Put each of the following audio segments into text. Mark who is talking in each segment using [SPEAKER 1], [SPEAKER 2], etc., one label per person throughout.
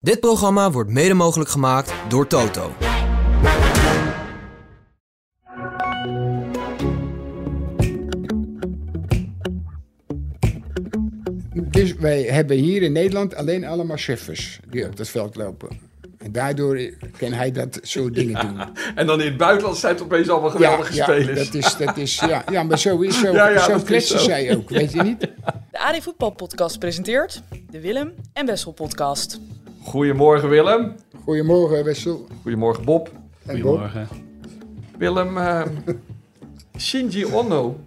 [SPEAKER 1] Dit programma wordt mede mogelijk gemaakt door Toto.
[SPEAKER 2] Dus wij hebben hier in Nederland alleen allemaal cheffers die op dat veld lopen. En daardoor kan hij dat soort dingen doen.
[SPEAKER 3] En dan in het buitenland zijn het opeens allemaal geweldige spelers.
[SPEAKER 2] dat is, dat is, ja, ja, maar zo, is, zo,
[SPEAKER 3] Ja, ja,
[SPEAKER 2] zo
[SPEAKER 3] dat is
[SPEAKER 2] kletsen
[SPEAKER 3] zo.
[SPEAKER 2] zij ook, weet je niet?
[SPEAKER 4] De AD Voetbal Podcast presenteert de Willem en Wessel Podcast.
[SPEAKER 3] Goedemorgen Willem.
[SPEAKER 2] Goedemorgen Wessel
[SPEAKER 3] Goedemorgen Bob.
[SPEAKER 2] en Bob.
[SPEAKER 3] Willem, eh, Shinji Ono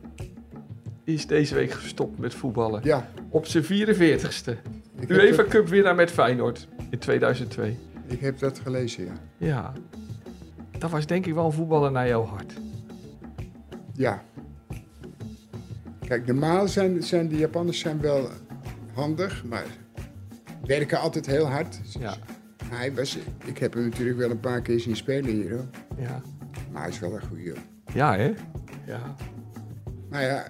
[SPEAKER 3] is deze week gestopt met voetballen.
[SPEAKER 2] Ja,
[SPEAKER 3] Op zijn 44ste.
[SPEAKER 2] ik heb,
[SPEAKER 3] UEFA
[SPEAKER 2] dat,
[SPEAKER 3] Cup winnaar met Feyenoord in 2002.
[SPEAKER 2] ik heb dat gelezen, ja.
[SPEAKER 3] Ja, dat was denk ik wel een voetballer naar jouw hart.
[SPEAKER 2] Ja. Kijk, normaal zijn, zijn de Japanners zijn wel handig, maar werken altijd heel hard.
[SPEAKER 3] Ja,
[SPEAKER 2] Hij was, ik heb hem natuurlijk wel een paar keer zien spelen hier, hoor.
[SPEAKER 3] ja.
[SPEAKER 2] maar hij is wel een goede jongen.
[SPEAKER 3] ja hè? Ja,
[SPEAKER 2] Nou ja,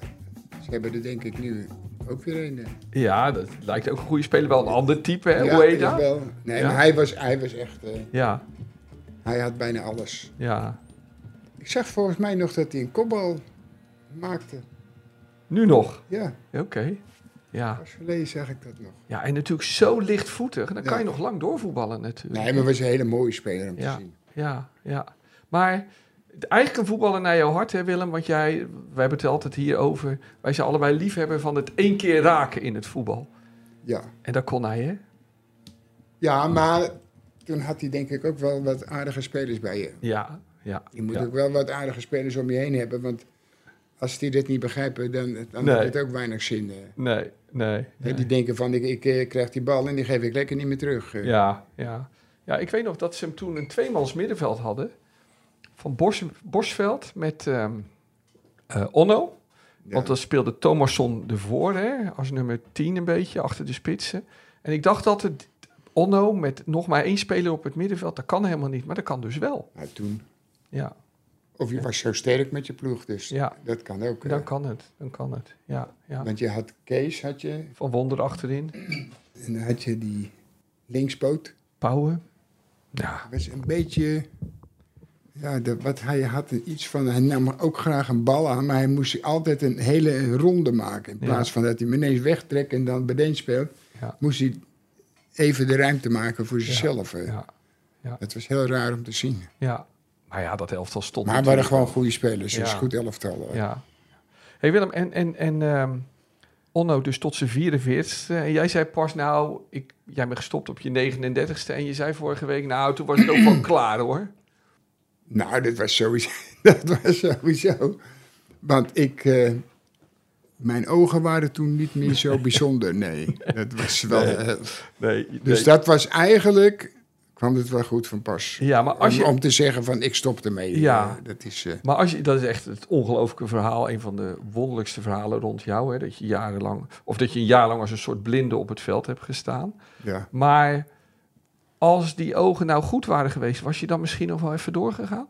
[SPEAKER 2] ze hebben er denk ik nu ook weer een. eh.
[SPEAKER 3] ja dat lijkt ook een goede speler. Wel een ander type, hè?
[SPEAKER 2] Ja,
[SPEAKER 3] Ueda.
[SPEAKER 2] jawel. Nee,
[SPEAKER 3] Ja.
[SPEAKER 2] maar hij was, hij was echt... eh,
[SPEAKER 3] Ja,
[SPEAKER 2] hij had bijna alles.
[SPEAKER 3] ja.
[SPEAKER 2] Ik zag volgens mij nog dat hij een kopbal maakte.
[SPEAKER 3] Nu nog.
[SPEAKER 2] Ja,
[SPEAKER 3] Oké. Ja.
[SPEAKER 2] pas geleden zag ik dat nog.
[SPEAKER 3] Ja, en natuurlijk zo lichtvoetig. Dan kan
[SPEAKER 2] Ja.
[SPEAKER 3] je nog lang doorvoetballen natuurlijk.
[SPEAKER 2] Nee, maar was een hele mooie speler om
[SPEAKER 3] Ja.
[SPEAKER 2] te zien.
[SPEAKER 3] Ja, ja. Maar d- eigenlijk een voetballer naar jouw hart, hè Willem? Want jij, wij hebben het altijd hier over. Wij zijn allebei liefhebber van het één keer raken in het voetbal.
[SPEAKER 2] Ja.
[SPEAKER 3] En dat kon hij, hè?
[SPEAKER 2] ja, maar toen had hij denk ik ook wel wat aardige spelers bij je.
[SPEAKER 3] Ja, ja.
[SPEAKER 2] Je moet
[SPEAKER 3] ja.
[SPEAKER 2] ook wel wat aardige spelers om je heen hebben, want als die dit niet begrijpen, dan, dan
[SPEAKER 3] Nee.
[SPEAKER 2] heeft het ook weinig zin. eh.
[SPEAKER 3] Nee, nee.
[SPEAKER 2] Hè,
[SPEAKER 3] nee.
[SPEAKER 2] Die denken van, ik, ik eh, krijg die bal en die geef ik lekker niet meer terug. eh.
[SPEAKER 3] Ja, ja. Ja, ik weet nog dat ze hem toen een tweemans middenveld hadden. Van Bos, Bosveld met ehm, eh, Onno.
[SPEAKER 2] Ja.
[SPEAKER 3] Want dan speelde Thomasson ervoor, hè, als nummer 10 een beetje, achter de spitsen. En ik dacht dat het Onno met nog maar één speler op het middenveld, dat kan helemaal niet, maar dat kan dus wel.
[SPEAKER 2] Maar toen,
[SPEAKER 3] Ja,
[SPEAKER 2] of je was zo sterk met je ploeg, dus
[SPEAKER 3] ja
[SPEAKER 2] dat kan ook. eh.
[SPEAKER 3] dan kan het. Dan kan het. Ja, ja.
[SPEAKER 2] Want je had Kees, had je,
[SPEAKER 3] Van Wonder achterin,
[SPEAKER 2] en dan had je die linkspoot.
[SPEAKER 3] Pauwen. Ja,
[SPEAKER 2] Dat was een beetje, ja, de- wat hij had er iets van, hij nam ook graag een bal aan, maar hij moest altijd een hele ronde maken. In
[SPEAKER 3] Ja.
[SPEAKER 2] plaats van dat hij hem ineens wegtrekt en dan beneden speelt,
[SPEAKER 3] Ja.
[SPEAKER 2] moest hij even de ruimte maken voor zichzelf. eh.
[SPEAKER 3] ja,
[SPEAKER 2] Dat was heel raar om te zien.
[SPEAKER 3] ja. Maar ja, dat elftal stond
[SPEAKER 2] Maar we waren
[SPEAKER 3] natuurlijk
[SPEAKER 2] gewoon goede spelers,
[SPEAKER 3] Ja.
[SPEAKER 2] dus goed elftal. hoor.
[SPEAKER 3] Ja. hey Willem, en, en, en ehm, Onno dus tot zijn 44ste. En jij zei pas nou, ik, jij bent gestopt op je 39ste. En je zei vorige week, nou, toen was het ook wel klaar hoor.
[SPEAKER 2] Nou, dat was sowieso. Dat was sowieso. Want ik. eh, mijn ogen waren toen niet meer zo bijzonder. Nee, dat was wel.
[SPEAKER 3] Nee,
[SPEAKER 2] eh,
[SPEAKER 3] Nee,
[SPEAKER 2] dus dat was eigenlijk. kwam het wel goed van pas.
[SPEAKER 3] Ja, maar als
[SPEAKER 2] om,
[SPEAKER 3] je...
[SPEAKER 2] om te zeggen van ik stop ermee.
[SPEAKER 3] Ja.
[SPEAKER 2] Eh, dat is. eh,
[SPEAKER 3] Maar als je, dat is echt het ongelooflijke verhaal, een van de wonderlijkste verhalen rond jou. Hè, dat je jarenlang, of dat je een jaar lang als een soort blinde op het veld hebt gestaan.
[SPEAKER 2] ja.
[SPEAKER 3] Maar als die ogen nou goed waren geweest, was je dan misschien nog wel even doorgegaan?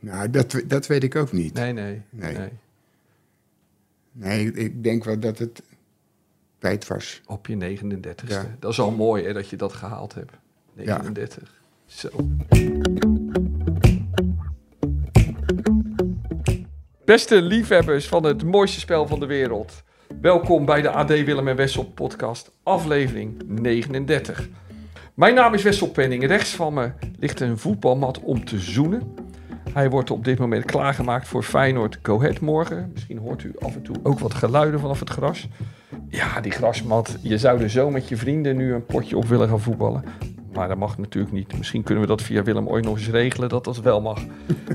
[SPEAKER 2] Nou, dat, we- dat weet ik ook niet. Nee,
[SPEAKER 3] Nee, nee.
[SPEAKER 2] Nee.
[SPEAKER 3] nee.
[SPEAKER 2] ik, ik denk wel dat het. tijd was.
[SPEAKER 3] Op je 39ste.
[SPEAKER 2] Ja.
[SPEAKER 3] Dat is al mooi hè, dat je dat gehaald hebt. 39. Zo. Beste liefhebbers van het mooiste spel van de wereld. Welkom bij de AD Willem en Wessel podcast, aflevering 39. Mijn naam is Wessel Penning. Rechts van me ligt een voetbalmat om te zoenen. Hij wordt op dit moment klaargemaakt voor Feyenoord Go Ahead morgen. Misschien hoort u af en toe ook wat geluiden vanaf het gras. Ja, die grasmat. Je zou er zo met je vrienden nu een potje op willen gaan voetballen. Maar dat mag natuurlijk niet. Misschien kunnen we dat via Willem ooit nog eens regelen dat dat wel mag.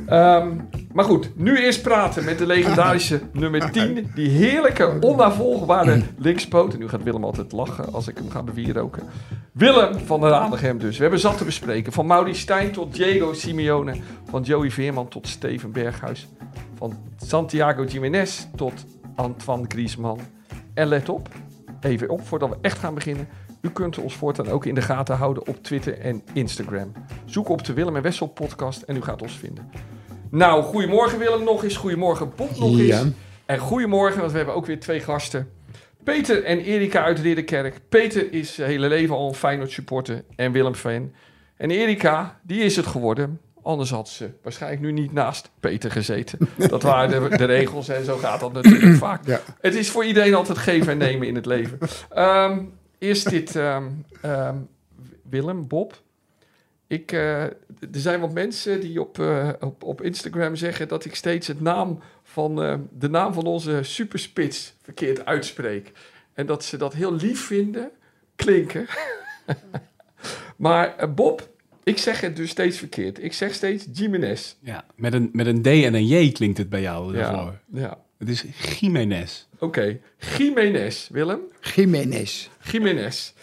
[SPEAKER 3] Ehm, maar goed, nu eerst praten met de legendarische nummer 10. Die heerlijke, onnavolgbare linkspoot. En nu gaat Willem altijd lachen als ik hem ga bewieroken. Willem van der Aandegem dus. We hebben zat te bespreken. Van Mauri Stijn tot Diego Simeone. Van Joey Veerman tot Steven Berghuis. Van Santiago Jiménez tot Antoine Griezmann. En let op, even op voordat we echt gaan beginnen. U kunt ons voortaan ook in de gaten houden op Twitter en Instagram. Zoek op de Willem en Wessel podcast en u gaat ons vinden. Nou, goedemorgen Willem nog eens. Goedemorgen Bob nog
[SPEAKER 2] Ja.
[SPEAKER 3] eens. En goedemorgen, want we hebben ook weer twee gasten. Peter en Erika uit Ridderkerk. Peter is zijn hele leven al een Feyenoord supporter en Willem fan. En Erika, die is het geworden. Anders had ze waarschijnlijk nu niet naast Peter gezeten. Dat waren de, de regels en zo gaat dat natuurlijk vaak.
[SPEAKER 2] Ja.
[SPEAKER 3] Het is voor iedereen altijd geven en nemen in het leven. Ehm, eerst dit, ehm, ehm, Willem, Bob. Ik, eh, er zijn wat mensen die op, eh, op, op Instagram zeggen dat ik steeds het naam van, eh, de naam van onze superspits verkeerd uitspreek. En dat ze dat heel lief vinden klinken. maar eh, Bob, ik zeg het dus steeds verkeerd. Ik zeg steeds Jiménez.
[SPEAKER 5] Ja, met een, met een D en een J klinkt het bij jou
[SPEAKER 3] Ja,
[SPEAKER 5] ervoor.
[SPEAKER 3] ja.
[SPEAKER 5] Het is Jiménez.
[SPEAKER 3] oké. Jiménez, Willem.
[SPEAKER 2] Jiménez.
[SPEAKER 3] Jiménez.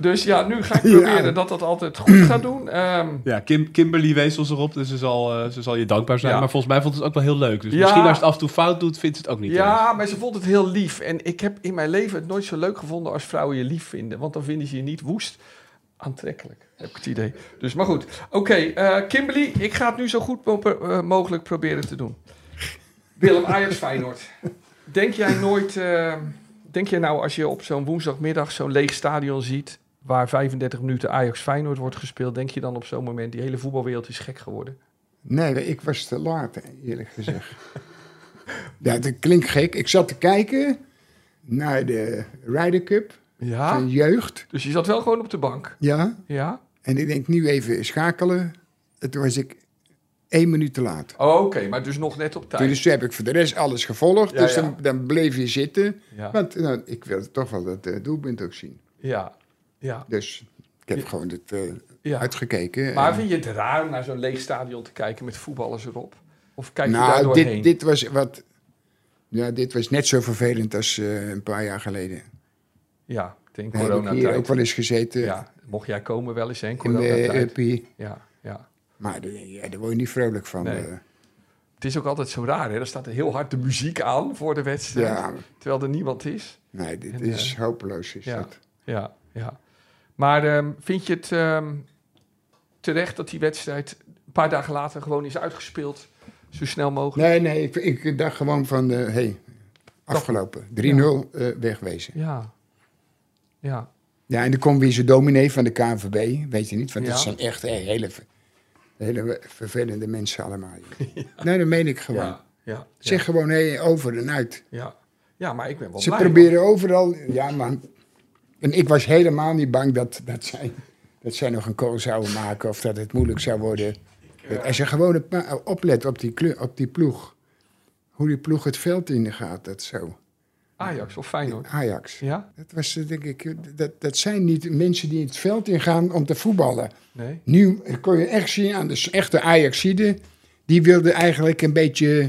[SPEAKER 3] Dus ja, nu ga ik proberen dat dat altijd goed gaat doen. Ehm,
[SPEAKER 5] Ja, Kim, Kimberly wees ons erop, dus ze zal, eh, ze zal je dankbaar zijn.
[SPEAKER 3] Ja.
[SPEAKER 5] Maar volgens mij vond ze het ook wel heel leuk. Dus
[SPEAKER 3] Ja.
[SPEAKER 5] misschien als het af en toe fout doet, vindt ze het ook niet erg.
[SPEAKER 3] ja, maar ze vond het heel lief. En ik heb in mijn leven het nooit zo leuk gevonden als vrouwen je lief vinden. Want dan vinden ze je niet woest aantrekkelijk, heb ik het idee. Dus, maar goed. Oké, eh, Kimberly, ik ga het nu zo goed mo- eh, mogelijk proberen te doen. Willem, Ajax Feyenoord. Denk jij nooit... eh, denk jij nou als je op zo'n woensdagmiddag zo'n leeg stadion ziet... waar 35 minuten Ajax Feyenoord wordt gespeeld... denk je dan op zo'n moment die hele voetbalwereld is gek geworden?
[SPEAKER 2] Nee, ik was te laat, eerlijk gezegd. ja, dat klinkt gek. Ik zat te kijken naar de Ryder Cup
[SPEAKER 3] Ja?
[SPEAKER 2] van jeugd.
[SPEAKER 3] Dus je zat wel gewoon op de bank.
[SPEAKER 2] Ja,
[SPEAKER 3] Ja?
[SPEAKER 2] en ik denk nu even schakelen. Toen was ik één minuut te laat.
[SPEAKER 3] Oh, Oké, maar dus nog net op tijd.
[SPEAKER 2] Dus toen heb ik voor de rest alles gevolgd.
[SPEAKER 3] Ja,
[SPEAKER 2] dus
[SPEAKER 3] ja.
[SPEAKER 2] Dan, dan bleef je zitten.
[SPEAKER 3] Ja,
[SPEAKER 2] Want nou, ik wilde toch wel dat eh, doelpunt ook zien.
[SPEAKER 3] ja, ja.
[SPEAKER 2] Dus ik heb gewoon het eh,
[SPEAKER 3] ja.
[SPEAKER 2] uitgekeken.
[SPEAKER 3] Maar
[SPEAKER 2] En-
[SPEAKER 3] vind je het raar om naar zo'n leeg stadion te kijken met voetballers erop? Of kijk je daar
[SPEAKER 2] nou,
[SPEAKER 3] doorheen?
[SPEAKER 2] dit, dit was wat. Ja, dit was net zo vervelend als eh, een paar jaar geleden.
[SPEAKER 3] Ja, ik denk
[SPEAKER 2] Daar heb ik hier ook
[SPEAKER 3] coronatijd.
[SPEAKER 2] wel eens gezeten.
[SPEAKER 3] Ja, mocht jij komen wel eens, hè, in
[SPEAKER 2] In de
[SPEAKER 3] coronatijd.
[SPEAKER 2] uppie.
[SPEAKER 3] Ja, ja.
[SPEAKER 2] Maar daar- ja, daar word je niet vrolijk van.
[SPEAKER 3] Nee.
[SPEAKER 2] eh.
[SPEAKER 3] Het is ook altijd zo raar, hè? Er staat heel hard de muziek aan voor de wedstrijd,
[SPEAKER 2] ja,
[SPEAKER 3] terwijl er niemand is.
[SPEAKER 2] nee, dit
[SPEAKER 3] En,
[SPEAKER 2] is hopeloos. Is
[SPEAKER 3] ja.
[SPEAKER 2] dat.
[SPEAKER 3] Ja, ja. Maar ehm, vind je het ehm, terecht dat die wedstrijd een paar dagen later gewoon is uitgespeeld? Zo snel mogelijk?
[SPEAKER 2] Nee, nee, ik, ik dacht gewoon van, eh hey, afgelopen. 3-0, eh, wegwezen.
[SPEAKER 3] Ja. Ja.
[SPEAKER 2] Ja, en dan komt weer zo'n dominee van de KNVB, weet je niet, want dat
[SPEAKER 3] Ja.
[SPEAKER 2] zijn echt eh, hele, ver- hele vervelende mensen allemaal. joh. Nee, dat meen ik gewoon.
[SPEAKER 3] Ja. Ja.
[SPEAKER 2] Zeg gewoon, hé, over en uit.
[SPEAKER 3] Ja. ja, maar ik ben wel
[SPEAKER 2] Ze
[SPEAKER 3] blij.
[SPEAKER 2] proberen overal. Ja, man. En ik was helemaal niet bang dat, dat, zij, dat zij nog een kool zouden maken of dat het moeilijk zou worden. Dat Als je gewoon een paar- oplet op die, kleur, op die ploeg, hoe die ploeg het veld in gaat, dat zo.
[SPEAKER 3] Ajax of Feyenoord.
[SPEAKER 2] Ajax.
[SPEAKER 3] Ja?
[SPEAKER 2] Dat, was, eh, denk ik, dat, dat zijn niet mensen die het veld ingaan om te voetballen.
[SPEAKER 3] Nee?
[SPEAKER 2] Nu kon je echt zien aan de s- echte Ajaxide. Die wilde eigenlijk een beetje,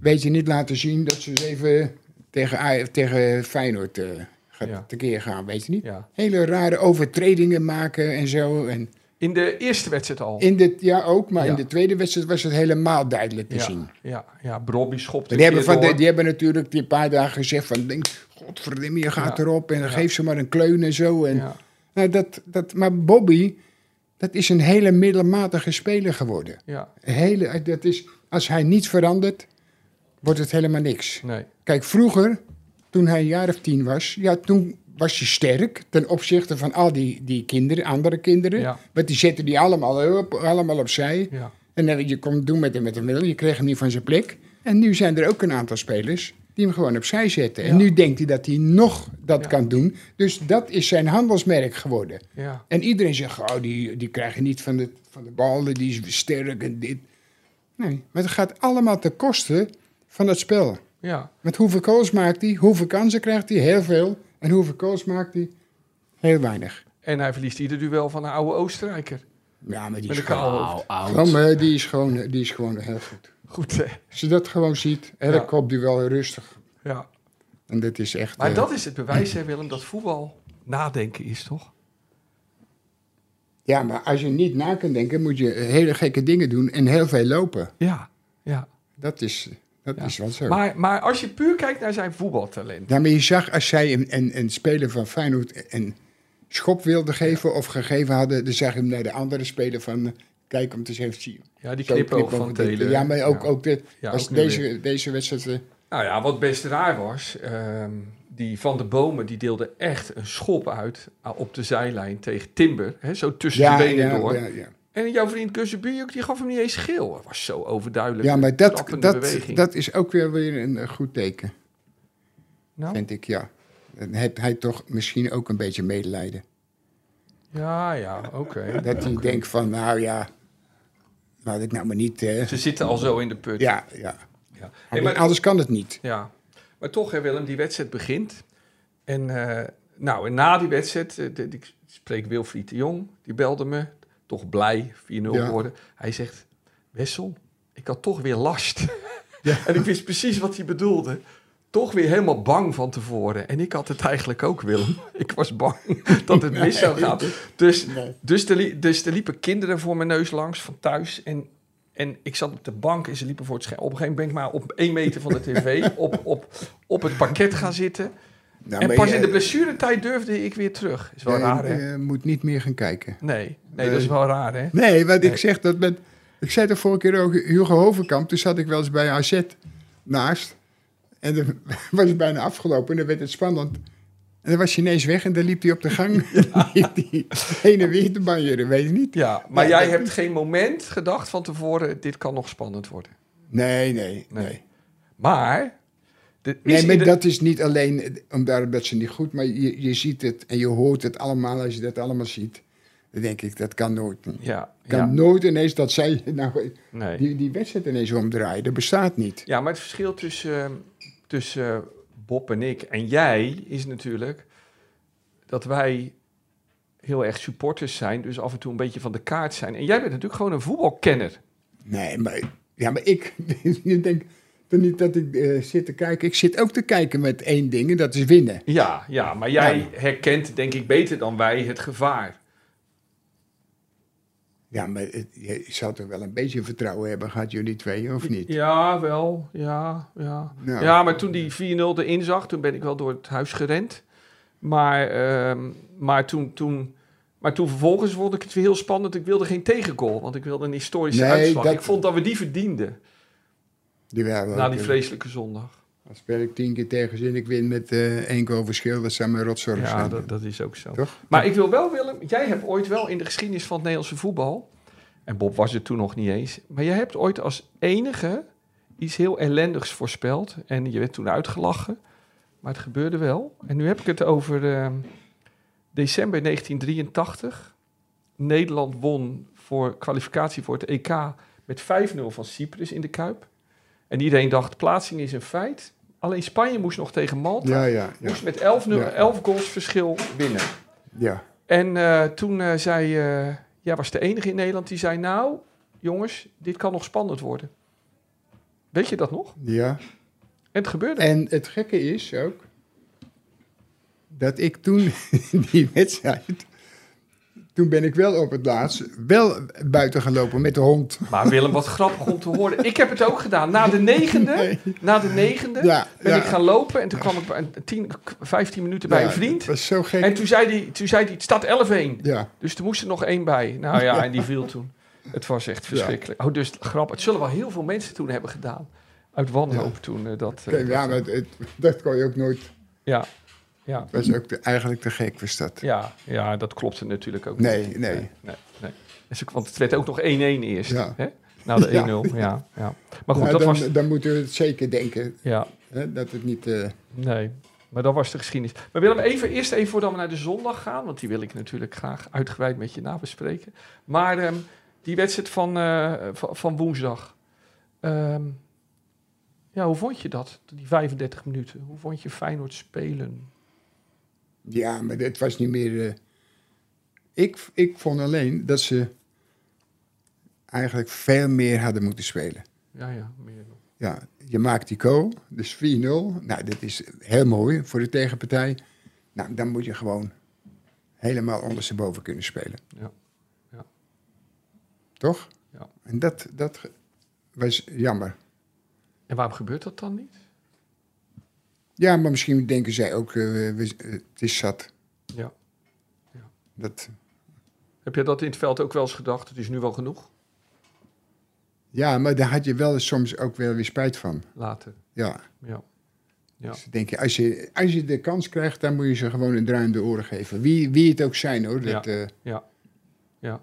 [SPEAKER 2] weet je, niet laten zien dat ze eens even tegen, Aj- tegen Feyenoord eh, gaat
[SPEAKER 3] Ja.
[SPEAKER 2] tekeer gaan, weet je niet.
[SPEAKER 3] Ja.
[SPEAKER 2] Hele rare overtredingen maken en zo. En
[SPEAKER 3] In de eerste wedstrijd al.
[SPEAKER 2] in dit jaar ook, maar
[SPEAKER 3] Ja.
[SPEAKER 2] in de tweede wedstrijd was het helemaal duidelijk te zien.
[SPEAKER 3] ja, ja, ja, Brobby schopt
[SPEAKER 2] Maar Die hebben,
[SPEAKER 3] een keer
[SPEAKER 2] van de-
[SPEAKER 3] door.
[SPEAKER 2] die hebben natuurlijk die paar dagen gezegd van... Denk, godverdomme, je gaat
[SPEAKER 3] Ja.
[SPEAKER 2] erop en dan
[SPEAKER 3] Ja.
[SPEAKER 2] geef ze maar een kleun en zo. En,
[SPEAKER 3] Ja,
[SPEAKER 2] nou, dat, dat, maar Bobby, dat is een hele middelmatige speler geworden.
[SPEAKER 3] ja,
[SPEAKER 2] Hele, dat is, als hij niet verandert, wordt het helemaal niks.
[SPEAKER 3] nee.
[SPEAKER 2] Kijk, vroeger, toen hij een jaar of tien was, ja, toen was hij sterk ten opzichte van al die, die kinderen, andere kinderen.
[SPEAKER 3] Ja.
[SPEAKER 2] Want die zetten die allemaal, op, allemaal opzij.
[SPEAKER 3] Ja.
[SPEAKER 2] En dan, je kon doen met hem met een middel, je kreeg hem niet van zijn plek. En nu zijn er ook een aantal spelers die hem gewoon opzij zetten.
[SPEAKER 3] Ja.
[SPEAKER 2] En nu denkt hij dat hij nog dat
[SPEAKER 3] Ja.
[SPEAKER 2] kan doen. Dus dat is zijn handelsmerk geworden.
[SPEAKER 3] Ja,
[SPEAKER 2] En iedereen zegt, oh, die, die krijg je niet van de, van de bal, die is sterk en dit. Nee, maar het gaat allemaal ten koste van het spel.
[SPEAKER 3] ja,
[SPEAKER 2] Want hoeveel goals maakt hij? Hoeveel kansen krijgt hij? Heel veel. En hoeveel goals maakt hij? Heel weinig.
[SPEAKER 3] en hij verliest ieder duel van een oude Oostenrijker.
[SPEAKER 2] Ja, maar die
[SPEAKER 3] Met
[SPEAKER 2] is
[SPEAKER 3] een
[SPEAKER 2] gewoon,
[SPEAKER 3] kaal hoofd.
[SPEAKER 5] Wauw, oud.
[SPEAKER 2] gewoon, eh, die is gewoon, eh, die is gewoon heel goed.
[SPEAKER 3] Goed, hè?
[SPEAKER 2] Als je dat gewoon ziet,
[SPEAKER 3] Ja.
[SPEAKER 2] elk kop die wel rustig.
[SPEAKER 3] Ja.
[SPEAKER 2] En dat is echt...
[SPEAKER 3] Maar
[SPEAKER 2] eh,
[SPEAKER 3] dat is het bewijs, hè, Willem, dat voetbal nadenken is, toch?
[SPEAKER 2] Ja, maar als je niet na kan denken, moet je eh, hele gekke dingen doen en heel veel lopen.
[SPEAKER 3] Ja, ja.
[SPEAKER 2] Dat is, dat
[SPEAKER 3] Ja.
[SPEAKER 2] is wel zo.
[SPEAKER 3] Maar, maar als je puur kijkt naar zijn voetbaltalent.
[SPEAKER 2] Ja, Nou, maar je zag als zij een, een, een speler van Feyenoord een schop wilde geven of gegeven hadden, dan zag je hem naar de andere speler van eh, kijk om te eens even zien.
[SPEAKER 3] Ja, die
[SPEAKER 2] Zo
[SPEAKER 3] knipoog
[SPEAKER 2] knipoog
[SPEAKER 3] van
[SPEAKER 2] dit.
[SPEAKER 3] Telen.
[SPEAKER 2] Ja, maar ook, ook dit,
[SPEAKER 3] Ja,
[SPEAKER 2] als
[SPEAKER 3] ook nu
[SPEAKER 2] deze, deze wedstrijd. eh,
[SPEAKER 3] Nou ja, wat best raar was, ehm, die Van de Bomen die deelde echt een schop uit ah, op de zijlijn tegen Timber. Hè, zo tussen
[SPEAKER 2] Ja,
[SPEAKER 3] de benen
[SPEAKER 2] ja,
[SPEAKER 3] door.
[SPEAKER 2] ja, ja.
[SPEAKER 3] En jouw vriend Kussenbuurk, die gaf hem niet eens geel. Dat was zo overduidelijk.
[SPEAKER 2] Ja, maar dat,
[SPEAKER 3] Klappende
[SPEAKER 2] dat,
[SPEAKER 3] beweging. Oh.
[SPEAKER 2] dat is ook weer, weer een eh, goed teken,
[SPEAKER 3] nou,
[SPEAKER 2] vind ik, ja. Dan heeft hij toch misschien ook een beetje medelijden.
[SPEAKER 3] ja, ja, oké.
[SPEAKER 2] Dat hij denkt van, nou ja, laat ik nou maar niet... eh,
[SPEAKER 3] Ze zitten al zo in de put.
[SPEAKER 2] ja, ja.
[SPEAKER 3] Ja. Hey, maar-
[SPEAKER 2] Anders kan het niet.
[SPEAKER 3] Ja, maar toch, hè, Willem, die wedstrijd begint. En, eh, nou, en na die wedstrijd, eh, de- ik spreek Wilfried de Jong, die belde me. Toch blij, 4-0
[SPEAKER 2] Ja.
[SPEAKER 3] geworden. Hij zegt, Wessel, ik had toch weer last. en ik wist precies wat hij bedoelde. Toch weer helemaal bang van tevoren. En ik had het eigenlijk ook, Willem. Ik was bang dat het mis zou gaan. Dus, dus, er, li- dus er liepen kinderen voor mijn neus langs van thuis. En en ik zat op de bank en ze liepen voor het scherm. Op een gegeven moment ben ik maar op één meter van de tv op, op, op het parket gaan zitten.
[SPEAKER 2] Nou,
[SPEAKER 3] En
[SPEAKER 2] maar
[SPEAKER 3] pas
[SPEAKER 2] je-
[SPEAKER 3] in de blessuretijd durfde ik weer terug. Is wel
[SPEAKER 2] je-
[SPEAKER 3] raar, hè? Nee,
[SPEAKER 2] je eh, moet niet meer gaan kijken.
[SPEAKER 3] nee, dat is wel raar, hè?
[SPEAKER 2] Nee, want ik zeg dat met... Ik zei de vorige keer ook, Hugo Hovenkamp, toen zat ik wel eens bij AZ naast. En dan was het bijna afgelopen en dan werd het spannend. En dan was hij ineens weg en dan liep hij op de gang. liep hij heen en weer te banjeren, weet je niet.
[SPEAKER 3] Ja, maar
[SPEAKER 2] Ja,
[SPEAKER 3] jij
[SPEAKER 2] dat-
[SPEAKER 3] hebt geen moment gedacht van tevoren, dit kan nog spannend worden.
[SPEAKER 2] Nee, nee,
[SPEAKER 3] Nee.
[SPEAKER 2] nee.
[SPEAKER 3] Maar... er is
[SPEAKER 2] Nee, maar
[SPEAKER 3] ieder-
[SPEAKER 2] dat is niet alleen omdat dat ze niet goed... maar je, je ziet het en je hoort het allemaal. Als je dat allemaal ziet, dan denk ik, dat kan nooit.
[SPEAKER 3] Ja,
[SPEAKER 2] kan
[SPEAKER 3] ja,
[SPEAKER 2] nooit ineens dat zij nou,
[SPEAKER 3] nee.
[SPEAKER 2] die, die wedstrijd ineens omdraaien. Dat bestaat niet.
[SPEAKER 3] Ja, maar het verschil tussen, eh, tussen eh, Bob en ik en jij is natuurlijk dat wij heel erg supporters zijn, dus af en toe een beetje van de kaart zijn. En jij bent natuurlijk gewoon een voetbalkenner.
[SPEAKER 2] Nee, maar, ja, maar ik ik denk toch niet dat ik eh, zit te kijken. Ik zit ook te kijken met één ding en dat is winnen.
[SPEAKER 3] Ja, ja, maar jij
[SPEAKER 2] Ja.
[SPEAKER 3] herkent denk ik beter dan wij het gevaar.
[SPEAKER 2] Ja, maar het- je zou toch wel een beetje vertrouwen hebben gehad, jullie twee, of niet?
[SPEAKER 3] Ja, wel, ja, ja.
[SPEAKER 2] Nou.
[SPEAKER 3] Ja, maar toen die 4-0 erin zag, toen ben ik wel door het huis gerend. Maar, ehm, maar, toen, toen, maar toen vervolgens vond ik het weer heel spannend. Ik wilde geen tegengoal, want ik wilde een historische
[SPEAKER 2] Nee,
[SPEAKER 3] uitslag.
[SPEAKER 2] dat-
[SPEAKER 3] Ik vond dat we die verdienden.
[SPEAKER 2] Die waren
[SPEAKER 3] Na
[SPEAKER 2] ook,
[SPEAKER 3] die
[SPEAKER 2] eh,
[SPEAKER 3] vreselijke zondag.
[SPEAKER 2] Als speel ik tien keer tegen zin, ik win met eh één goal verschil. Dat zijn mijn rotzorgen.
[SPEAKER 3] Ja,
[SPEAKER 2] zijn.
[SPEAKER 3] dat, dat is ook zo.
[SPEAKER 2] Toch?
[SPEAKER 3] Maar ik wil wel, Willem, jij hebt ooit wel in de geschiedenis van het Nederlandse voetbal... en Bob was het toen nog niet eens... maar jij hebt ooit als enige iets heel ellendigs voorspeld... en je werd toen uitgelachen, maar het gebeurde wel. En nu heb ik het over eh, december 1983. Nederland won voor kwalificatie voor het EK met 5-0 van Cyprus in de Kuip. En iedereen dacht, plaatsing is een feit... Alleen Spanje moest nog tegen Malta.
[SPEAKER 2] ja, ja, ja.
[SPEAKER 3] Moest met 11, nul-
[SPEAKER 2] Ja.
[SPEAKER 3] 11 goals verschil winnen.
[SPEAKER 2] ja.
[SPEAKER 3] En eh, toen eh, zei, eh, jij was de enige in Nederland die zei, nou jongens, dit kan nog spannend worden. Weet je dat nog?
[SPEAKER 2] ja.
[SPEAKER 3] En het gebeurde.
[SPEAKER 2] En het gekke is ook dat ik toen die wedstrijd. Toen ben ik wel op het laatst wel buiten gelopen met de hond.
[SPEAKER 3] Maar Willem, wat grappig om te horen. Ik heb het ook gedaan. Na de negende, na de negende
[SPEAKER 2] Ja,
[SPEAKER 3] ben
[SPEAKER 2] ja.
[SPEAKER 3] ik gaan lopen. En toen kwam ik bij een 10, 15 minuten bij
[SPEAKER 2] Ja,
[SPEAKER 3] een vriend.
[SPEAKER 2] Dat was zo gek.
[SPEAKER 3] En toen zei hij, toen zei hij het staat 11-1.
[SPEAKER 2] Ja,
[SPEAKER 3] Dus er moest er nog één bij. Nou ja, en die viel toen. Het was echt verschrikkelijk. Oh, dus grappig. Het zullen wel heel veel mensen toen hebben gedaan. Uit wanhoop toen. eh, dat, eh,
[SPEAKER 2] Oké, ja maar het, het- dat kon je ook nooit.
[SPEAKER 3] ja, ja,
[SPEAKER 2] Dat was ook te- eigenlijk te gek, was dat.
[SPEAKER 3] ja, ja, dat klopte natuurlijk ook
[SPEAKER 2] Nee,
[SPEAKER 3] niet.
[SPEAKER 2] nee.
[SPEAKER 3] nee, nee. Dus ik- want het werd ook nog 1-1 eerst.
[SPEAKER 2] Ja.
[SPEAKER 3] Hè? Nou, de
[SPEAKER 2] Ja.
[SPEAKER 3] 1-0. Ja, ja. Maar goed,
[SPEAKER 2] Nou,
[SPEAKER 3] dat
[SPEAKER 2] dan,
[SPEAKER 3] was...
[SPEAKER 2] dan moeten we het zeker denken.
[SPEAKER 3] Ja,
[SPEAKER 2] Hè, dat het niet. eh,
[SPEAKER 3] nee. Maar dat was de geschiedenis. Maar Willem, even, eerst even voordat we naar de zondag gaan. Want die wil ik natuurlijk graag uitgebreid met je nabespreken. Maar ehm, die wedstrijd van, eh, van, van woensdag. Ehm, ja, hoe vond je dat? Die 35 minuten. Hoe vond je Feyenoord spelen?
[SPEAKER 2] Ja, maar het was niet meer. eh, ik, ik vond alleen dat ze eigenlijk veel meer hadden moeten spelen.
[SPEAKER 3] Ja, ja. Meer.
[SPEAKER 2] Ja, je maakt die goal, dus 4-0. Nou, dat is heel mooi voor de tegenpartij. Nou, dan moet je gewoon helemaal ondersteboven kunnen spelen.
[SPEAKER 3] Ja. Ja.
[SPEAKER 2] Toch?
[SPEAKER 3] Ja.
[SPEAKER 2] En dat, dat ge- was jammer.
[SPEAKER 3] En waarom gebeurt dat dan niet?
[SPEAKER 2] Ja, maar misschien denken zij ook, eh, we- eh, het is zat.
[SPEAKER 3] Ja. Ja.
[SPEAKER 2] Dat,
[SPEAKER 3] Heb je dat in het veld ook wel eens gedacht? Het is nu wel genoeg?
[SPEAKER 2] ja, maar daar had je wel soms ook wel weer spijt van.
[SPEAKER 3] Later.
[SPEAKER 2] Ja,
[SPEAKER 3] Ja. Ja.
[SPEAKER 2] Dus ik denk, als je, als je de kans krijgt, dan moet je ze gewoon een draai de oren geven. Wie, wie het ook zijn hoor. Dat, eh,
[SPEAKER 3] Ja. Ja.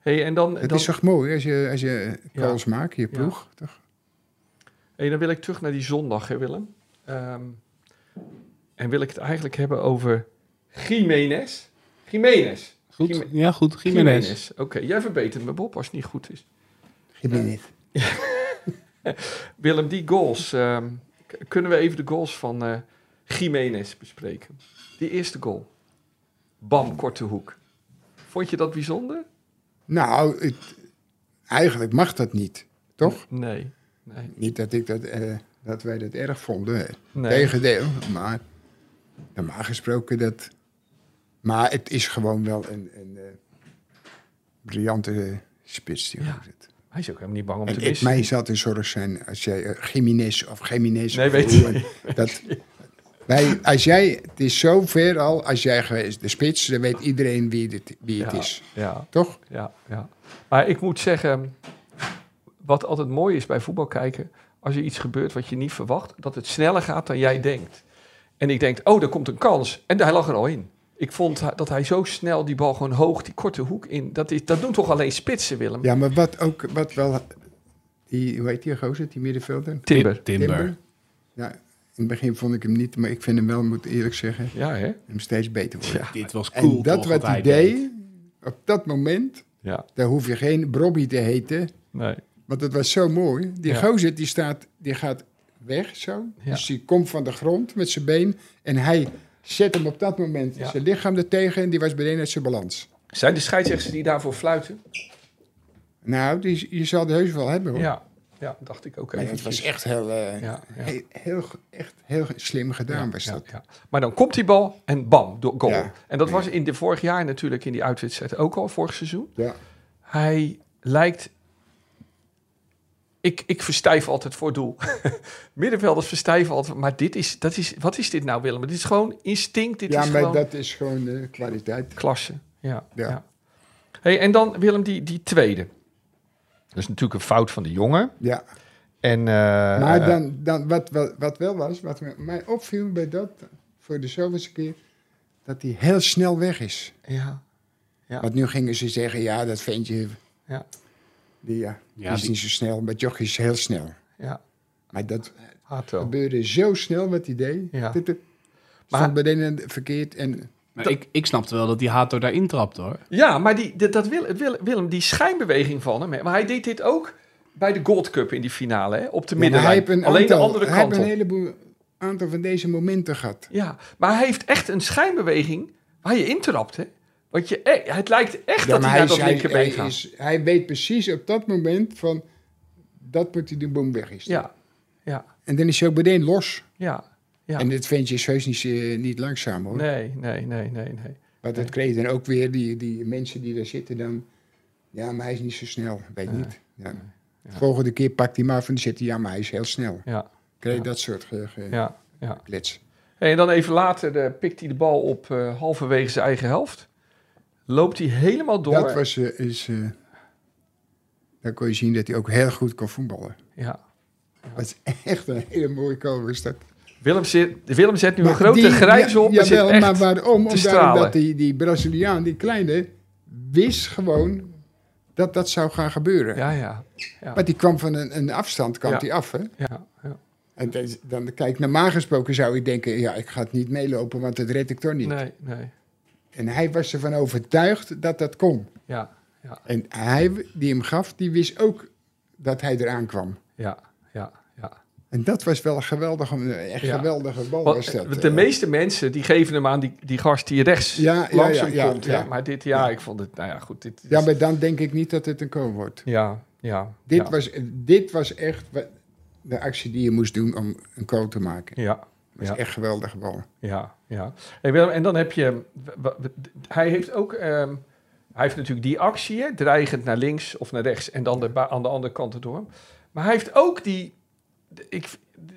[SPEAKER 3] hey, en dan,
[SPEAKER 2] het
[SPEAKER 3] dan,
[SPEAKER 2] is toch mooi als je, als je
[SPEAKER 3] Ja.
[SPEAKER 2] calls maakt, je ploeg. Toch?
[SPEAKER 3] hey, dan wil ik terug naar die zondag, hè, Willem. Ehm, en wil ik het eigenlijk hebben over Jiménez. Jiménez.
[SPEAKER 5] Goed,
[SPEAKER 3] Jime-
[SPEAKER 5] ja goed, Jiménez.
[SPEAKER 3] Jiménez. Oké, jij verbetert me, Bob, als het niet goed is.
[SPEAKER 2] Jiménez.
[SPEAKER 3] Willem, die goals. ehm, k- kunnen we even de goals van eh Jiménez bespreken? Die eerste goal. Bam, korte hoek. Vond je dat bijzonder?
[SPEAKER 2] Nou, het- eigenlijk mag dat niet, toch?
[SPEAKER 3] Nee. Nee.
[SPEAKER 2] Niet dat, ik dat, eh, dat wij dat erg vonden.
[SPEAKER 3] nee.
[SPEAKER 2] Tegendeel, maar normaal gesproken dat... Maar het is gewoon wel een, een eh, briljante eh, spits die
[SPEAKER 3] Ja.
[SPEAKER 2] ja. zit.
[SPEAKER 3] Hij is ook helemaal niet bang om te
[SPEAKER 2] En ik,
[SPEAKER 3] missen.
[SPEAKER 2] mij zou het een zorg zijn als jij eh, Jiménez of Jiménez...
[SPEAKER 3] Nee,
[SPEAKER 2] of
[SPEAKER 3] weet
[SPEAKER 2] hoe, eh, dat, wij, als jij, Het is zo ver al, als jij geweest de spits, dan weet iedereen wie het, wie het
[SPEAKER 3] Ja.
[SPEAKER 2] is.
[SPEAKER 3] Ja,
[SPEAKER 2] Toch?
[SPEAKER 3] ja, ja. Maar ik moet zeggen, wat altijd mooi is bij voetbal kijken, als er iets gebeurt wat je niet verwacht, dat het sneller gaat dan jij denkt. En ik denk, oh, daar komt een kans. En hij lag er al in. Ik vond ha- dat hij zo snel die bal gewoon hoog, die korte hoek in. Dat, is, dat doen toch alleen spitsen, Willem?
[SPEAKER 2] Ja, maar wat ook, wat wel, die, hoe heet die gozer, die middenvelder?
[SPEAKER 3] Timber.
[SPEAKER 5] Timber.
[SPEAKER 2] Ja, in het begin vond ik hem niet, maar ik vind hem wel, moet ik eerlijk zeggen,
[SPEAKER 3] Ja, hè?
[SPEAKER 2] hem steeds beter worden.
[SPEAKER 5] Dit was
[SPEAKER 2] En
[SPEAKER 5] cool
[SPEAKER 2] dat
[SPEAKER 5] toch,
[SPEAKER 2] wat
[SPEAKER 5] hij
[SPEAKER 2] hij deed,
[SPEAKER 5] deed.
[SPEAKER 2] op dat moment,
[SPEAKER 3] Ja,
[SPEAKER 2] daar hoef je geen Bobby te heten,
[SPEAKER 3] nee.
[SPEAKER 2] want dat was zo mooi. Die
[SPEAKER 3] Ja.
[SPEAKER 2] gozer, die staat, die gaat weg zo,
[SPEAKER 3] Ja.
[SPEAKER 2] dus die komt van de grond met zijn been en hij zet hem op dat moment
[SPEAKER 3] Ja.
[SPEAKER 2] zijn lichaam ertegen en die was beneden uit zijn balans.
[SPEAKER 3] Zijn de scheidsrechters die daarvoor fluiten?
[SPEAKER 2] Nou, die, je zal er heus wel hebben hoor.
[SPEAKER 3] Ja, ja dacht ik ook
[SPEAKER 2] Maar
[SPEAKER 3] even.
[SPEAKER 2] het was echt heel, eh,
[SPEAKER 3] Ja, ja.
[SPEAKER 2] Heel, heel, echt heel slim gedaan was
[SPEAKER 3] Ja,
[SPEAKER 2] dat.
[SPEAKER 3] ja. Maar dan komt die bal en bam, do- goal.
[SPEAKER 2] Ja.
[SPEAKER 3] En dat was in de vorig jaar natuurlijk in die uitwedstrijd ook al, vorig seizoen.
[SPEAKER 2] Ja.
[SPEAKER 3] Hij lijkt... Ik, ik verstijf altijd voor het doel. Middenvelders verstijven altijd. Maar dit is, dat is... Wat is dit nou, Willem? Dit is gewoon instinct. Dit
[SPEAKER 2] ja,
[SPEAKER 3] is
[SPEAKER 2] maar
[SPEAKER 3] gewoon
[SPEAKER 2] dat is gewoon de kwaliteit.
[SPEAKER 3] klasse. Ja, ja.
[SPEAKER 2] Ja.
[SPEAKER 3] Hey, en dan, Willem, die, die tweede. Dat is natuurlijk een fout van de jongen.
[SPEAKER 2] Ja.
[SPEAKER 3] En, eh,
[SPEAKER 2] maar dan, dan, wat, wel- wat wel was, wat me- mij opviel bij dat, voor de zoveelste keer, dat hij heel snel weg is.
[SPEAKER 3] eh, Ja,
[SPEAKER 2] Want nu gingen ze zeggen, ja, dat vind je,
[SPEAKER 3] ja,
[SPEAKER 2] die, ja, Dus die
[SPEAKER 5] Ja,
[SPEAKER 2] is
[SPEAKER 5] die-
[SPEAKER 2] niet zo snel, maar Jochie is heel snel.
[SPEAKER 3] ja.
[SPEAKER 2] Maar dat
[SPEAKER 3] Hato.
[SPEAKER 2] gebeurde zo snel wat hij deed.
[SPEAKER 3] Ja.
[SPEAKER 2] Dat het
[SPEAKER 3] Maar-
[SPEAKER 2] stond beneden verkeerd en
[SPEAKER 5] Maar ik, ik snapte wel dat die Hato daar intrapt hoor.
[SPEAKER 3] Ja, maar die, dat, dat Wil- Wil- Willem, die schijnbeweging van hem. hè, Maar hij deed dit ook bij de Gold Cup in die finale, hè, op de
[SPEAKER 2] Ja, maar hij
[SPEAKER 3] middenlijn.
[SPEAKER 2] heeft een
[SPEAKER 3] Alleen de
[SPEAKER 2] aantal-
[SPEAKER 3] andere
[SPEAKER 2] Hij heeft
[SPEAKER 3] kant
[SPEAKER 2] een
[SPEAKER 3] op.
[SPEAKER 2] heleboel aantal van deze momenten gehad.
[SPEAKER 3] Ja, maar hij heeft echt een schijnbeweging waar je intrapt, hè? Want je, eh, het lijkt echt dat
[SPEAKER 2] maar
[SPEAKER 3] hij naar dat
[SPEAKER 2] is- hij,
[SPEAKER 3] linkerbeen
[SPEAKER 2] hij,
[SPEAKER 3] gaat.
[SPEAKER 2] is- hij weet precies op dat moment van dat moet hij de boom weg is.
[SPEAKER 3] Ja, ja,
[SPEAKER 2] En dan is hij ook meteen los.
[SPEAKER 3] ja. Ja.
[SPEAKER 2] En dit ventje is heus niet, eh, niet langzaam hoor.
[SPEAKER 3] Nee, nee, nee, nee, nee.
[SPEAKER 2] Want dat kreeg dan ook weer die, die mensen die daar zitten dan. Ja, maar hij is niet zo snel. Weet niet. Ja. De volgende keer pakt hij maar van zit hij. Ja, maar hij is heel snel.
[SPEAKER 3] Ja,
[SPEAKER 2] Kreeg
[SPEAKER 3] Ja.
[SPEAKER 2] dat soort ge, ge-
[SPEAKER 3] ja, ja.
[SPEAKER 2] klets.
[SPEAKER 3] Hey, en dan even later eh, pikt hij de bal op eh, halverwege zijn eigen helft. Loopt hij helemaal door.
[SPEAKER 2] Dat was eh, is. eh, daar kon je zien dat hij ook heel goed kon voetballen.
[SPEAKER 3] ja.
[SPEAKER 2] Dat is echt een hele mooie goal is dat.
[SPEAKER 3] Willem, zit, Willem zet nu een
[SPEAKER 2] Maar
[SPEAKER 3] grote
[SPEAKER 2] die-
[SPEAKER 3] grijns
[SPEAKER 2] ja-
[SPEAKER 3] op. en zit
[SPEAKER 2] jawel,
[SPEAKER 3] echt
[SPEAKER 2] maar waarom?
[SPEAKER 3] te stralen.
[SPEAKER 2] Omdat die, die Braziliaan, die kleine, wist gewoon dat dat zou gaan gebeuren.
[SPEAKER 3] Ja, ja.
[SPEAKER 2] Want die kwam van een, een afstand kwam
[SPEAKER 3] Ja.
[SPEAKER 2] die af, hè?
[SPEAKER 3] ja, ja.
[SPEAKER 2] En dat is- dan, kijk, normaal gesproken zou ik denken... ja, ik ga het niet meelopen, want dat red ik toch niet.
[SPEAKER 3] Nee, nee.
[SPEAKER 2] En hij was ervan overtuigd dat dat kon.
[SPEAKER 3] Ja,
[SPEAKER 2] En hij die hem gaf, die wist ook dat hij eraan kwam.
[SPEAKER 3] ja, ja, ja.
[SPEAKER 2] En dat was wel een geweldige, een echt
[SPEAKER 3] Ja.
[SPEAKER 2] geweldige bal.
[SPEAKER 3] Want,
[SPEAKER 2] was dat,
[SPEAKER 3] de
[SPEAKER 2] eh.
[SPEAKER 3] meeste mensen die geven hem aan die, die gast die rechts
[SPEAKER 2] Ja, ja,
[SPEAKER 3] langs
[SPEAKER 2] ja,
[SPEAKER 3] hem
[SPEAKER 2] ja,
[SPEAKER 3] komt. Ja,
[SPEAKER 2] ja.
[SPEAKER 3] Maar dit, ja,
[SPEAKER 2] Ja.
[SPEAKER 3] ik vond het, nou ja, goed. Dit, dit
[SPEAKER 2] Ja,
[SPEAKER 3] is-
[SPEAKER 2] maar dan denk ik niet dat het een kool wordt.
[SPEAKER 3] ja, ja.
[SPEAKER 2] Dit,
[SPEAKER 3] ja.
[SPEAKER 2] was, eh, dit was echt wa- de actie die je moest doen om een goal te maken.
[SPEAKER 3] Ja,
[SPEAKER 2] Dat is
[SPEAKER 3] Ja.
[SPEAKER 2] echt geweldig bal.
[SPEAKER 3] ja, ja. Hey, Willem, en dan heb je... w- w- d- Hij heeft ook... ehm, hij heeft natuurlijk die actie, hè, dreigend naar links of naar rechts... en dan de, ba- aan de andere kant erdoor. Maar hij heeft ook die... de- Ik, de-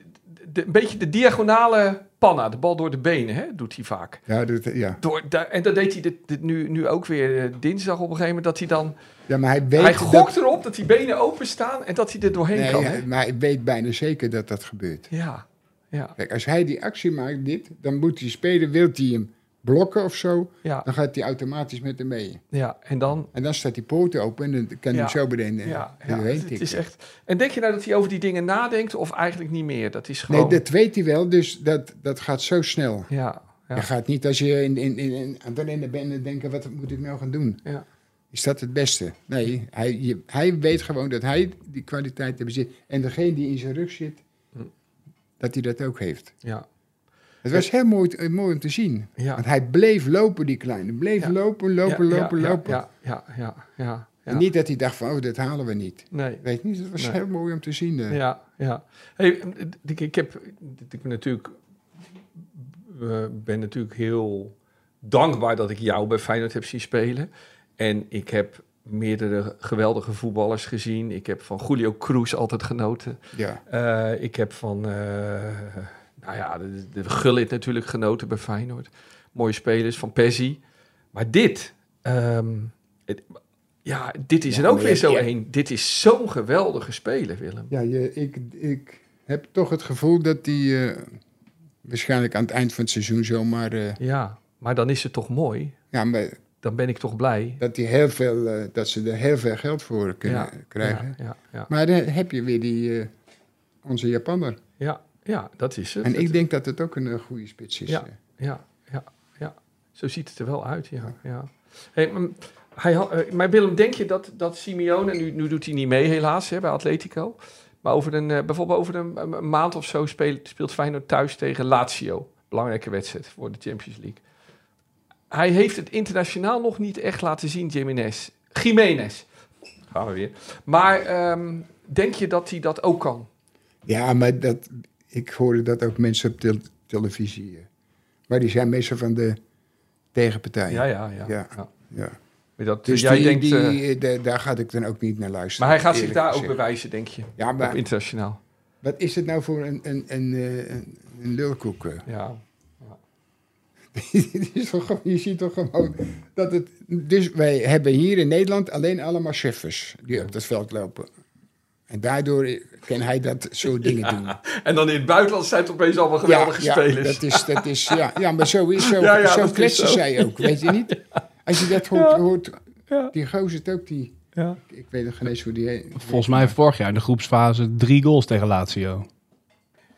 [SPEAKER 3] de- een beetje de diagonale panna, de bal door de benen, hè, doet hij vaak.
[SPEAKER 2] Ja, dat, ja.
[SPEAKER 3] Door, daar- en dat deed hij dit, dit nu, nu ook weer eh, dinsdag op een gegeven moment. Dat hij dan.
[SPEAKER 2] ja, maar hij weet,
[SPEAKER 3] hij
[SPEAKER 2] dat-
[SPEAKER 3] gokt erop dat die benen open staan en dat hij er doorheen
[SPEAKER 2] nee,
[SPEAKER 3] kan.
[SPEAKER 2] hij-
[SPEAKER 3] hè?
[SPEAKER 2] maar hij weet bijna zeker dat dat gebeurt.
[SPEAKER 3] Ja, Ja,
[SPEAKER 2] Kijk, als hij die actie maakt, dit, dan moet hij spelen. Wilt hij hem blokken of zo,
[SPEAKER 3] ja,
[SPEAKER 2] dan gaat hij automatisch met hem mee.
[SPEAKER 3] ja. En dan...
[SPEAKER 2] En dan staat die poot open en dan kan hij
[SPEAKER 3] Ja.
[SPEAKER 2] hem zo beneden eh,
[SPEAKER 3] Ja, ja,
[SPEAKER 2] doorheen
[SPEAKER 3] het
[SPEAKER 2] tikken.
[SPEAKER 3] is echt... En denk je nou dat hij over die dingen nadenkt of eigenlijk niet meer? Dat is
[SPEAKER 2] Nee,
[SPEAKER 3] gewoon...
[SPEAKER 2] dat weet hij wel, dus dat, dat gaat zo snel.
[SPEAKER 3] Ja, ja,
[SPEAKER 2] Je gaat niet als je in, in, in, in, aan het rennen bent en denken, wat moet ik nou gaan doen?
[SPEAKER 3] ja.
[SPEAKER 2] Is dat het beste? Nee, hij, je- hij weet gewoon dat hij die kwaliteit bezit. En degene die in zijn rug zit, dat hij dat ook heeft.
[SPEAKER 3] Hm. ja.
[SPEAKER 2] Het was heel mooi, eh, mooi om te zien.
[SPEAKER 3] Ja.
[SPEAKER 2] Want hij bleef lopen, die kleine. Bleef
[SPEAKER 3] Ja.
[SPEAKER 2] lopen, lopen,
[SPEAKER 3] Ja,
[SPEAKER 2] lopen,
[SPEAKER 3] ja,
[SPEAKER 2] lopen.
[SPEAKER 3] Ja, ja, ja, ja. ja.
[SPEAKER 2] En niet dat hij dacht van, oh, dat halen we niet.
[SPEAKER 3] Nee.
[SPEAKER 2] Weet niet, dat was
[SPEAKER 3] Nee.
[SPEAKER 2] heel mooi om te zien. eh.
[SPEAKER 3] Ja, ja. Hey, ik, ik, heb, ik ben, natuurlijk, eh, ben natuurlijk heel dankbaar dat ik jou bij Feyenoord heb zien spelen. En ik heb meerdere geweldige voetballers gezien. Ik heb van Julio Cruz altijd genoten.
[SPEAKER 2] Ja.
[SPEAKER 3] Eh, ik heb van, eh, nou ja, de, de Gullit natuurlijk genoten bij Feyenoord. Mooie spelers, van Persie. Maar dit, ehm, het- ja, dit is
[SPEAKER 2] Ja,
[SPEAKER 3] er ook
[SPEAKER 2] maar
[SPEAKER 3] weer
[SPEAKER 2] je-
[SPEAKER 3] zo
[SPEAKER 2] je-
[SPEAKER 3] één. Dit is zo'n geweldige speler, Willem.
[SPEAKER 2] Ja, je, ik, ik heb toch het gevoel dat hij eh, waarschijnlijk aan het eind van het seizoen zomaar... eh,
[SPEAKER 3] Ja, maar dan is het toch mooi.
[SPEAKER 2] ja, maar
[SPEAKER 3] Dan ben ik toch blij.
[SPEAKER 2] dat, die heel veel, eh, dat ze er heel veel geld voor kunnen
[SPEAKER 3] Ja,
[SPEAKER 2] krijgen.
[SPEAKER 3] Ja, ja, ja,
[SPEAKER 2] Maar dan heb je weer die, eh, onze Japanner.
[SPEAKER 3] ja, ja, dat is het.
[SPEAKER 2] En ik
[SPEAKER 3] Het-
[SPEAKER 2] denk dat het ook een eh, goede spits is.
[SPEAKER 3] Ja.
[SPEAKER 2] eh.
[SPEAKER 3] Ja, ja, ja. Zo ziet het er wel uit, ja. ja. Hey, maar, hij, had- eh, maar Willem, denk je dat, dat Simeone, nu, nu doet hij niet mee helaas hè, bij Atletico, maar over een, eh, bijvoorbeeld over een, een- een maand of zo speelt, speelt Feyenoord thuis tegen Lazio. Belangrijke wedstrijd voor de Champions League. Hij heeft het internationaal nog niet echt laten zien, Jiménez. Jiménez. Gaan we weer. Maar ehm, denk je dat hij dat ook kan?
[SPEAKER 2] Ja, maar dat, ik hoorde dat ook mensen op tel- televisie. eh. Maar die zijn meestal van de tegenpartij.
[SPEAKER 3] Ja, ja, ja.
[SPEAKER 2] Ja.
[SPEAKER 3] ja.
[SPEAKER 2] Ja.
[SPEAKER 3] Maar Dat,
[SPEAKER 2] Dus
[SPEAKER 3] jij
[SPEAKER 2] die,
[SPEAKER 3] denkt,
[SPEAKER 2] die,
[SPEAKER 3] eh,
[SPEAKER 2] eh, da- daar gaat ik dan ook niet naar luisteren.
[SPEAKER 3] maar hij gaat zich
[SPEAKER 2] eerlijk
[SPEAKER 3] daar ook
[SPEAKER 2] gezegd.
[SPEAKER 3] bewijzen, denk je?
[SPEAKER 2] Ja,
[SPEAKER 3] Op
[SPEAKER 2] maar
[SPEAKER 3] internationaal.
[SPEAKER 2] wat is het nou voor een, een, een, eh, een, een lulkoek? eh?
[SPEAKER 3] Ja.
[SPEAKER 2] Dit is toch gewoon- je ziet toch gewoon dat het... Dus wij hebben hier in Nederland alleen allemaal cheffers die op dat veld lopen. En daardoor kan hij dat soort dingen doen.
[SPEAKER 3] En dan in het buitenland zijn het opeens allemaal geweldige spelers.
[SPEAKER 2] Ja, dat is, dat is, ja, ja, maar zo, is, zo,
[SPEAKER 3] Ja, ja, dat
[SPEAKER 2] zo
[SPEAKER 3] is
[SPEAKER 2] kletsen
[SPEAKER 3] zo.
[SPEAKER 2] zij ook, weet je niet? Als je dat hoort, hoort
[SPEAKER 3] Ja.
[SPEAKER 2] die gozer het ook, die,
[SPEAKER 3] Ja.
[SPEAKER 2] ik weet nog geen eens hoe die heet.
[SPEAKER 5] Volgens mij vorig jaar in de groepsfase drie goals tegen Lazio.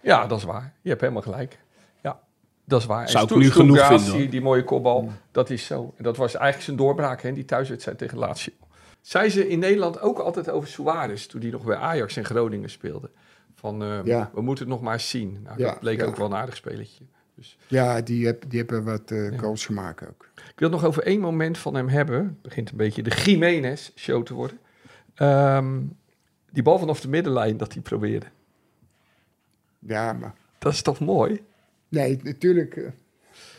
[SPEAKER 3] Ja, dat is waar. Je hebt helemaal gelijk. Ja, dat is waar. En
[SPEAKER 5] Zou ik
[SPEAKER 3] Stu-
[SPEAKER 5] nu
[SPEAKER 3] Stuart
[SPEAKER 5] genoeg
[SPEAKER 3] Grass,
[SPEAKER 5] vinden, hoor.
[SPEAKER 3] Die, die mooie kopbal, dat is zo. En dat was eigenlijk zijn doorbraak, hè, die thuiswedstrijd tegen Lazio. Zei ze in Nederland ook altijd over Suarez, toen hij nog bij Ajax en Groningen speelde. Van, eh,
[SPEAKER 2] Ja.
[SPEAKER 3] we moeten het nog maar eens zien. Nou,
[SPEAKER 2] Ja,
[SPEAKER 3] dat bleek
[SPEAKER 2] ja.
[SPEAKER 3] ook wel een aardig spelletje.
[SPEAKER 2] Ja, die, heb, die hebben wat eh goals gemaakt ook.
[SPEAKER 3] Ik wil het nog over één moment van hem hebben. Het begint een beetje de Jiménez show te worden. Ehm, die bal vanaf de middenlijn dat hij probeerde.
[SPEAKER 2] Ja, maar...
[SPEAKER 3] Dat is toch mooi?
[SPEAKER 2] Nee, natuurlijk. eh,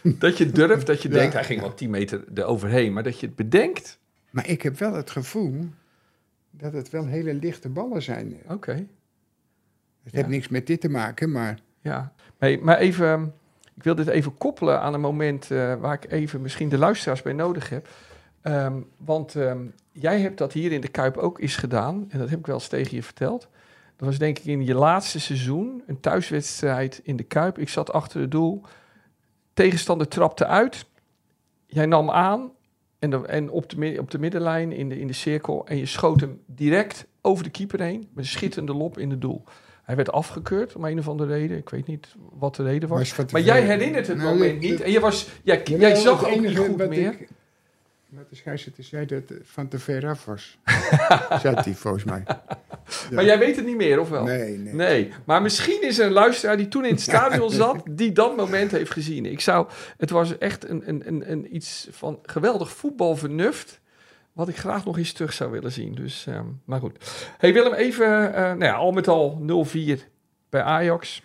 [SPEAKER 3] Dat je durft, dat je
[SPEAKER 2] Ja.
[SPEAKER 3] denkt, hij ging wel 10 meter eroverheen, maar dat je het bedenkt.
[SPEAKER 2] Maar ik heb wel het gevoel dat het wel hele lichte ballen zijn. Het
[SPEAKER 3] Oké,
[SPEAKER 2] heeft niks met dit te maken, maar...
[SPEAKER 3] ja. Hey, maar even, ehm, ik wil dit even koppelen aan een moment eh, waar ik even misschien de luisteraars bij nodig heb. Ehm, want ehm, jij hebt dat hier in de Kuip ook eens gedaan, en dat heb ik wel eens tegen je verteld. Dat was denk ik in je laatste seizoen, een thuiswedstrijd in de Kuip. Ik zat achter het doel, tegenstander trapte uit, jij nam aan en, dan- en op, de, mi- op de middenlijn in de, in de cirkel en je schoot hem direct over de keeper heen met een schitterende lop in het doel. Hij werd afgekeurd om een of andere reden. Ik weet niet wat de reden was.
[SPEAKER 2] Was van
[SPEAKER 3] maar
[SPEAKER 2] tevoren.
[SPEAKER 3] jij herinnert het
[SPEAKER 2] Nou,
[SPEAKER 3] moment
[SPEAKER 2] dat-
[SPEAKER 3] niet. En je was, jij, jij
[SPEAKER 2] Jawel,
[SPEAKER 3] zag
[SPEAKER 2] het
[SPEAKER 3] ook niet
[SPEAKER 2] enige
[SPEAKER 3] goed
[SPEAKER 2] wat
[SPEAKER 3] meer.
[SPEAKER 2] Ik, wat de scheidsrechter zei, dat het van te ver af was. Zat hij volgens mij.
[SPEAKER 3] Maar jij weet het niet meer, of wel?
[SPEAKER 2] Nee, nee.
[SPEAKER 3] Nee, maar misschien is er een luisteraar die toen in het stadion zat, die dat moment heeft gezien. Ik zou, het was echt een, een, een, een iets van geweldig voetbalvernuft, wat ik graag nog eens terug zou willen zien. Dus, ehm, maar goed. Hey Willem, even, eh, nou ja, al met al 0-4 bij Ajax.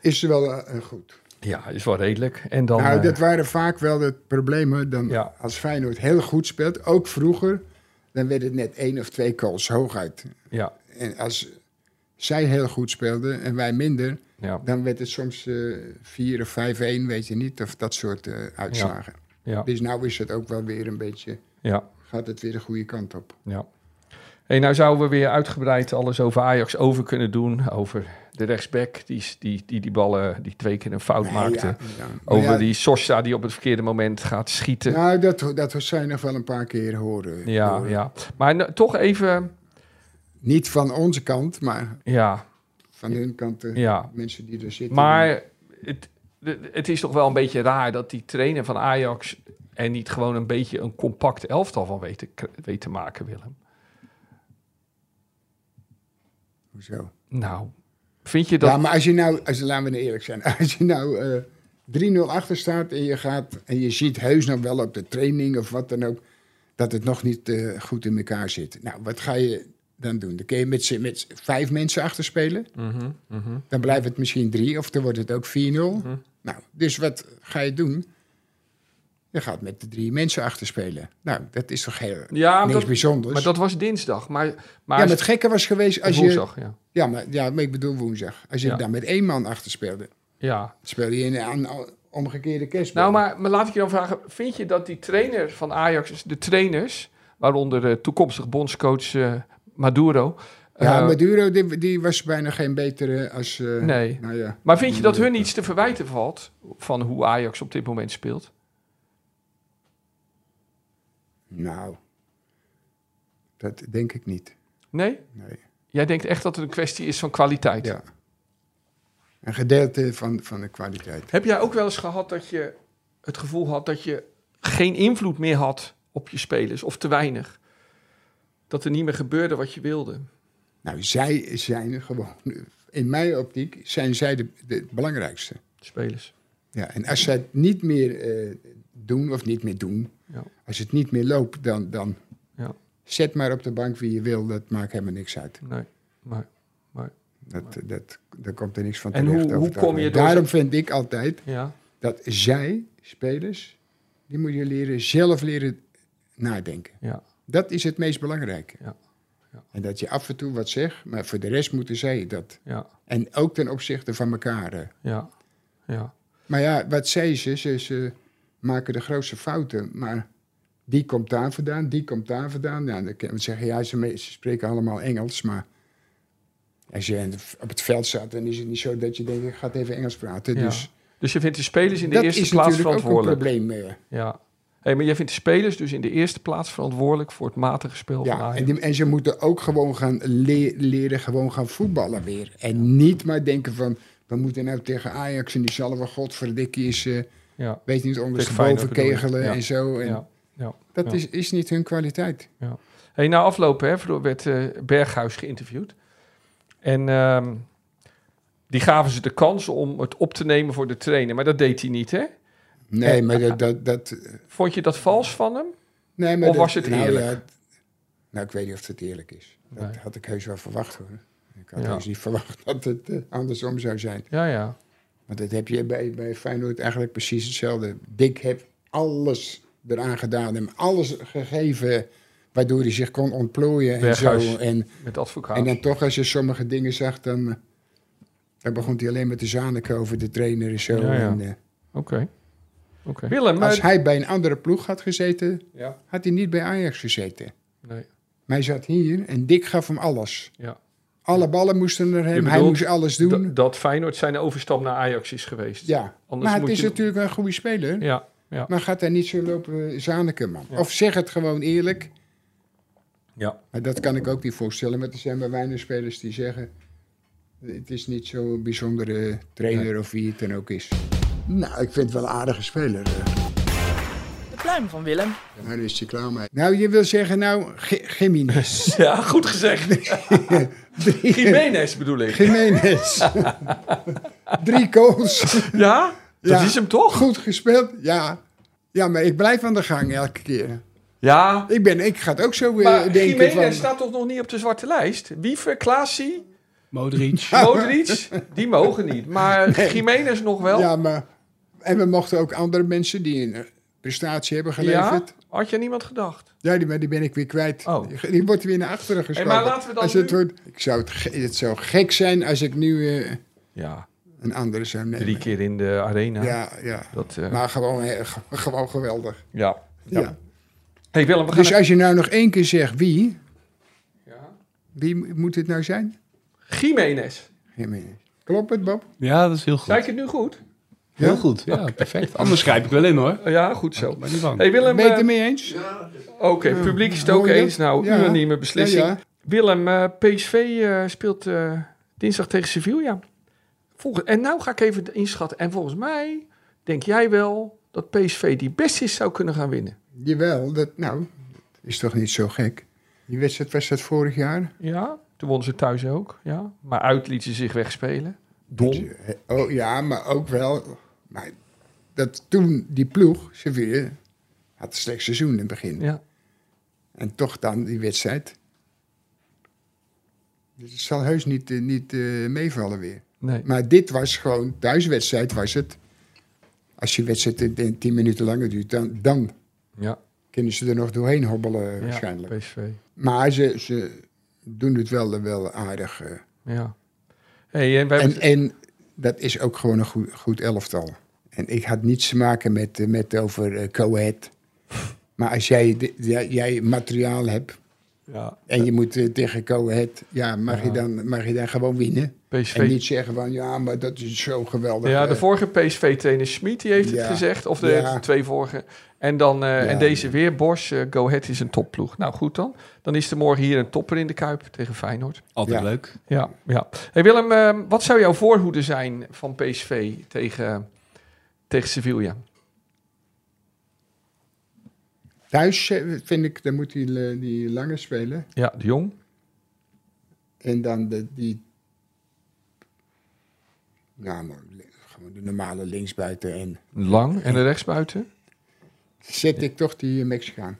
[SPEAKER 2] Is wel eh, goed.
[SPEAKER 3] Ja, is wel redelijk. En dan,
[SPEAKER 2] nou,
[SPEAKER 3] eh,
[SPEAKER 2] dat waren vaak wel de problemen. Dan,
[SPEAKER 3] Ja.
[SPEAKER 2] Als Feyenoord heel goed speelt, ook vroeger, dan werd het net één of twee calls hooguit.
[SPEAKER 3] ja,
[SPEAKER 2] En als zij heel goed speelden en wij minder,
[SPEAKER 3] ja,
[SPEAKER 2] dan werd het soms eh 4 of 5-1, weet je niet, of dat soort eh, uitslagen.
[SPEAKER 3] ja,
[SPEAKER 2] Dus nou is het ook wel weer een beetje,
[SPEAKER 3] ja.
[SPEAKER 2] gaat het weer de goede kant op.
[SPEAKER 3] Ja. Hey, nou zouden we weer uitgebreid alles over Ajax over kunnen doen. Over de rechtsback, die, is- die, die die ballen die twee keer een fout
[SPEAKER 2] Nee,
[SPEAKER 3] maakte.
[SPEAKER 2] ja, ja. Maar
[SPEAKER 3] Over
[SPEAKER 2] ja,
[SPEAKER 3] die Sosa die op het verkeerde moment gaat schieten. Ja,
[SPEAKER 2] Nou, dat, dat zou je nog wel een paar keer horen.
[SPEAKER 3] ja.
[SPEAKER 2] Horen.
[SPEAKER 3] Maar n- toch even,
[SPEAKER 2] Niet van onze kant, maar
[SPEAKER 3] ja,
[SPEAKER 2] van hun kant. De
[SPEAKER 3] ja.
[SPEAKER 2] mensen die er zitten.
[SPEAKER 3] Maar het, de- het is toch wel een beetje raar dat die trainer van Ajax er niet gewoon een beetje een compact elftal van weet te, kr- weet te maken, Willem.
[SPEAKER 2] Hoezo?
[SPEAKER 3] Nou, vind je dat...
[SPEAKER 2] Ja, maar als je nou, als, laten we eerlijk zijn, als je nou eh 3-0 achter staat en je, gaat, en je ziet heus nog wel op de training of wat dan ook, dat het nog niet eh, goed in elkaar zit. Nou, wat ga je dan doen? Dan kun je met, z'n- met z'n vijf mensen achter spelen,
[SPEAKER 3] Mhm, mhm.
[SPEAKER 2] dan blijft het misschien drie of dan wordt het ook 4-0. Nou, dus wat ga je doen? Je gaat met de drie mensen achter spelen. Nou, dat is toch heel,
[SPEAKER 3] Ja,
[SPEAKER 2] niks
[SPEAKER 3] dat-
[SPEAKER 2] bijzonders.
[SPEAKER 3] maar dat was dinsdag. Maar, maar
[SPEAKER 2] Dus- ja, maar het gekke was geweest als je...
[SPEAKER 3] woensdag, ja.
[SPEAKER 2] Ja maar, ja, maar ik bedoel woensdag. Als je
[SPEAKER 3] Ja.
[SPEAKER 2] dan met één man achter speelde,
[SPEAKER 3] ja.
[SPEAKER 2] speel je in een aan- omgekeerde kerstboom.
[SPEAKER 3] Nou, maar, maar laat ik je dan vragen. Vind je dat die trainer van Ajax, dus de trainers, waaronder eh, toekomstig bondscoach eh, Maduro...
[SPEAKER 2] Ja,
[SPEAKER 3] eh,
[SPEAKER 2] Maduro, die, die was bijna geen betere als... eh,
[SPEAKER 3] Nee.
[SPEAKER 2] Nou ja.
[SPEAKER 3] Maar vind je dat hun iets te verwijten valt van hoe Ajax op dit moment speelt?
[SPEAKER 2] Nou, dat denk ik niet.
[SPEAKER 3] Nee?
[SPEAKER 2] Nee.
[SPEAKER 3] Jij denkt echt dat het een kwestie is van kwaliteit?
[SPEAKER 2] Ja. Een gedeelte van, van de kwaliteit.
[SPEAKER 3] Heb jij ook wel eens gehad dat je het gevoel had dat je geen invloed meer had op je spelers of te weinig? Dat er niet meer gebeurde wat je wilde?
[SPEAKER 2] Nou, zij zijn gewoon... In mijn optiek zijn zij de, de belangrijkste.
[SPEAKER 3] Spelers.
[SPEAKER 2] Ja, en als zij het niet meer eh, doen of niet meer doen,
[SPEAKER 3] Ja.
[SPEAKER 2] als het niet meer loopt, dan, dan
[SPEAKER 3] Ja.
[SPEAKER 2] zet maar op de bank wie je wil. Dat maakt helemaal niks uit.
[SPEAKER 3] Nee. Maar,
[SPEAKER 2] Dat, dat, daar komt er niks van
[SPEAKER 3] En
[SPEAKER 2] terecht.
[SPEAKER 3] hoe-
[SPEAKER 2] over
[SPEAKER 3] hoe
[SPEAKER 2] het
[SPEAKER 3] kom je
[SPEAKER 2] algemeen.
[SPEAKER 3] door-
[SPEAKER 2] Daarom vind ik altijd
[SPEAKER 3] ja.
[SPEAKER 2] dat zij, spelers, die moet je leren zelf leren nadenken.
[SPEAKER 3] Ja.
[SPEAKER 2] Dat is het meest belangrijke.
[SPEAKER 3] Ja. Ja.
[SPEAKER 2] En dat je af en toe wat zegt, maar voor de rest moeten zij dat.
[SPEAKER 3] Ja.
[SPEAKER 2] En ook ten opzichte van elkaar. hè.
[SPEAKER 3] Ja. Ja.
[SPEAKER 2] Maar ja, wat zij ze, ze, ze maken de grootste fouten. Maar die komt daar vandaan, die komt daar vandaan. Ja, dan kan je zeggen, ja, ze, me- ze spreken allemaal Engels, maar... Als je in de- op het veld staat, dan is het niet zo dat je denkt, ik ga even Engels praten.
[SPEAKER 3] Ja.
[SPEAKER 2] Dus
[SPEAKER 3] Dus je vindt de spelers in de
[SPEAKER 2] dat
[SPEAKER 3] eerste
[SPEAKER 2] is
[SPEAKER 3] plaats
[SPEAKER 2] natuurlijk ook een
[SPEAKER 3] verantwoordelijk.
[SPEAKER 2] probleem. eh.
[SPEAKER 3] ja. Hey, maar jij vindt de spelers dus in de eerste plaats verantwoordelijk voor het matige spel van
[SPEAKER 2] Ja,
[SPEAKER 3] Ajax.
[SPEAKER 2] en, die- en ze moeten ook gewoon gaan le- leren, gewoon gaan voetballen weer. En niet maar denken van, we moeten nou tegen Ajax en die zal wel godverdikkie is, eh,
[SPEAKER 3] ja.
[SPEAKER 2] weet niet, ondersteboven
[SPEAKER 3] Feyenoord bedoel je?
[SPEAKER 2] kegelen
[SPEAKER 3] Ja.
[SPEAKER 2] en zo. En
[SPEAKER 3] ja. ja.
[SPEAKER 2] Dat
[SPEAKER 3] Ja.
[SPEAKER 2] is, is niet hun kwaliteit.
[SPEAKER 3] Hey, na afloop hè, vero- werd eh, Berghuis geïnterviewd. En ehm, die gaven ze de kans om het op te nemen voor de trainer. Maar dat deed hij niet, hè?
[SPEAKER 2] Nee,
[SPEAKER 3] En-
[SPEAKER 2] maar dat... dat, dat
[SPEAKER 3] Vond je dat vals van hem?
[SPEAKER 2] eh, nee, maar
[SPEAKER 3] Of
[SPEAKER 2] dat-
[SPEAKER 3] was het eerlijk?
[SPEAKER 2] Nou, ja, het- nou, ik weet niet of het eerlijk is. Dat
[SPEAKER 3] Nee.
[SPEAKER 2] had ik heus wel verwacht hoor. Ik had
[SPEAKER 3] Ja.
[SPEAKER 2] heus niet verwacht dat het eh, andersom zou zijn.
[SPEAKER 3] Ja, ja.
[SPEAKER 2] Want dat heb je bij, bij Feyenoord eigenlijk precies hetzelfde. Dick heeft alles eraan gedaan. Hem alles gegeven waardoor hij zich kon ontplooien en zo.
[SPEAKER 3] Berghuis.
[SPEAKER 2] En,
[SPEAKER 3] Met advocaat.
[SPEAKER 2] en dan toch als je sommige dingen zag, dan, eh, dan begon hij alleen maar te zaniken over de trainer en zo.
[SPEAKER 3] Ja, ja.
[SPEAKER 2] En, eh,
[SPEAKER 3] Oké. Oké. Willem,
[SPEAKER 2] als
[SPEAKER 3] maar...
[SPEAKER 2] hij bij een andere ploeg had gezeten,
[SPEAKER 3] Ja,
[SPEAKER 2] had hij niet bij Ajax gezeten.
[SPEAKER 3] nee.
[SPEAKER 2] Maar hij zat hier en Dick gaf hem alles.
[SPEAKER 3] Ja.
[SPEAKER 2] Alle ballen moesten naar hem.
[SPEAKER 3] Je
[SPEAKER 2] hij
[SPEAKER 3] bedoelt
[SPEAKER 2] moest alles doen.
[SPEAKER 3] Dat- dat Feyenoord zijn overstap naar Ajax is geweest.
[SPEAKER 2] ja.
[SPEAKER 3] Anders
[SPEAKER 2] maar
[SPEAKER 3] moet
[SPEAKER 2] het is
[SPEAKER 3] je-
[SPEAKER 2] natuurlijk een goede speler.
[SPEAKER 3] Ja. Ja.
[SPEAKER 2] Maar gaat hij niet zo lopen eh, zaniken, man. Of zeg het gewoon eerlijk.
[SPEAKER 3] Ja.
[SPEAKER 2] Maar dat kan ik ook niet voorstellen. Want er zijn maar weinig spelers die zeggen... Het is niet zo'n bijzondere trainer of wie het dan ook is. Nou, ik vind het wel een aardige speler. eh.
[SPEAKER 4] De pluim van Willem.
[SPEAKER 2] Maar daar is hij klaar mee. Nou, je wil zeggen, nou, G- Jiménez.
[SPEAKER 3] Ja, goed gezegd. Jiménez bedoel ik.
[SPEAKER 2] Jiménez. Drie goals.
[SPEAKER 3] Ja? Dat
[SPEAKER 2] Ja.
[SPEAKER 3] is hem toch?
[SPEAKER 2] Goed gespeeld, ja. Ja, maar ik blijf aan de gang elke keer.
[SPEAKER 3] Ja.
[SPEAKER 2] Ik, ben, ik ga het ook zo eh,
[SPEAKER 3] Maar
[SPEAKER 2] denken
[SPEAKER 3] Jiménez
[SPEAKER 2] van...
[SPEAKER 3] staat toch nog niet op de zwarte lijst? Wiever, Klaasie,
[SPEAKER 5] Modric.
[SPEAKER 3] Modric, die mogen niet. Maar Jiménez nog wel. Ja,
[SPEAKER 2] Ja, maar... En we mochten ook andere mensen die een eh, prestatie hebben geleverd.
[SPEAKER 3] had je aan niemand gedacht?
[SPEAKER 2] Ja, die, maar die ben ik weer kwijt.
[SPEAKER 3] Oh.
[SPEAKER 2] Die, die wordt weer naar achteren geschoven.
[SPEAKER 3] maar laten we dan
[SPEAKER 2] als het
[SPEAKER 3] nu-
[SPEAKER 2] wordt, ik zou het, ge- het zou gek zijn als ik nu eh,
[SPEAKER 3] Ja,
[SPEAKER 2] een andere zou nemen.
[SPEAKER 3] drie keer in de arena.
[SPEAKER 2] Ja, ja.
[SPEAKER 3] Dat, eh,
[SPEAKER 2] Maar gewoon, eh, ge- gewoon geweldig.
[SPEAKER 3] ja.
[SPEAKER 2] Ja.
[SPEAKER 3] Hey Willem, we gaan...
[SPEAKER 2] Dus als je nou nog één keer zegt wie,
[SPEAKER 3] Ja.
[SPEAKER 2] wie moet het nou zijn?
[SPEAKER 3] Jiménez.
[SPEAKER 2] Jiménez. Klopt het, Bob?
[SPEAKER 3] Ehm,
[SPEAKER 5] Ja, dat is heel goed.
[SPEAKER 3] Zei ik het nu goed?
[SPEAKER 5] Heel goed. Ja, perfect. Anders schrijf ik wel in hoor.
[SPEAKER 3] Ja, goed zo.
[SPEAKER 5] Maar niet bang.
[SPEAKER 3] Hey Willem,
[SPEAKER 2] Ben je het
[SPEAKER 3] eh,
[SPEAKER 2] ermee eens?
[SPEAKER 3] oké, het publiek is het ook
[SPEAKER 2] Hoor je dat?
[SPEAKER 3] eens. Nou,
[SPEAKER 2] Ja.
[SPEAKER 3] unanieme beslissing.
[SPEAKER 2] Ja, ja.
[SPEAKER 3] Willem, eh, PSV eh, speelt eh, dinsdag tegen Sevilla. Volgens, en nou ga ik even inschatten. En volgens mij denk jij wel dat PSV die best is zou kunnen gaan winnen.
[SPEAKER 2] Jawel, dat, nou, dat is toch niet zo gek. Die wedstrijd was dat vorig jaar?
[SPEAKER 3] Ja, toen wonnen ze thuis ook. Ja. Maar uit liet ze zich wegspelen. Dom.
[SPEAKER 2] Oh ja, maar ook wel. Maar dat toen die ploeg, Sevilla, had een slecht seizoen in het begin.
[SPEAKER 3] Ja.
[SPEAKER 2] En toch dan die wedstrijd. Dus het zal heus niet, eh, niet eh, meevallen weer.
[SPEAKER 3] Nee.
[SPEAKER 2] Maar dit was gewoon, thuiswedstrijd was het. Als je wedstrijd in- in tien minuten langer duurt, dan, dan
[SPEAKER 3] Ja,
[SPEAKER 2] kunnen ze er nog doorheen hobbelen
[SPEAKER 3] ja,
[SPEAKER 2] waarschijnlijk.
[SPEAKER 3] PSV.
[SPEAKER 2] Maar ze, ze doen het wel, wel aardig. eh.
[SPEAKER 3] Ja. Hey, en wij
[SPEAKER 2] En, en dat is ook gewoon een goed, goed elftal. En ik had niets te maken met, eh, met over eh, Coët. Maar als jij, de- ja, jij materiaal hebt
[SPEAKER 3] ja,
[SPEAKER 2] en je moet eh, tegen Coët, ja, mag, Je dan, mag je dan gewoon winnen? En
[SPEAKER 3] PSV.
[SPEAKER 2] niet zeggen van, ja, maar dat is zo geweldig.
[SPEAKER 3] Ja,
[SPEAKER 2] eh,
[SPEAKER 3] de vorige PSV-trainer Schmid die heeft het
[SPEAKER 2] Ja.
[SPEAKER 3] gezegd. Of de
[SPEAKER 2] Ja.
[SPEAKER 3] twee vorige. En, dan, eh,
[SPEAKER 2] Ja.
[SPEAKER 3] en deze weer, Bosch. eh, Go Ahead is een topploeg. Nou, goed dan. Dan is er morgen hier een topper in de Kuip tegen Feyenoord.
[SPEAKER 5] Altijd
[SPEAKER 2] Ja.
[SPEAKER 5] leuk.
[SPEAKER 3] Ja, ja. Hey Willem, eh, wat zou jouw voorhoede zijn van PSV tegen, tegen Sevilla?
[SPEAKER 2] Thuis eh, vind ik, dan moet die, eh, die lange spelen.
[SPEAKER 3] Ja, de Jong.
[SPEAKER 2] En dan de, die. Nou, maar li- gewoon de normale linksbuiten. En
[SPEAKER 3] Lang en de rechtsbuiten.
[SPEAKER 2] zet ik toch die eh, Mexicaan.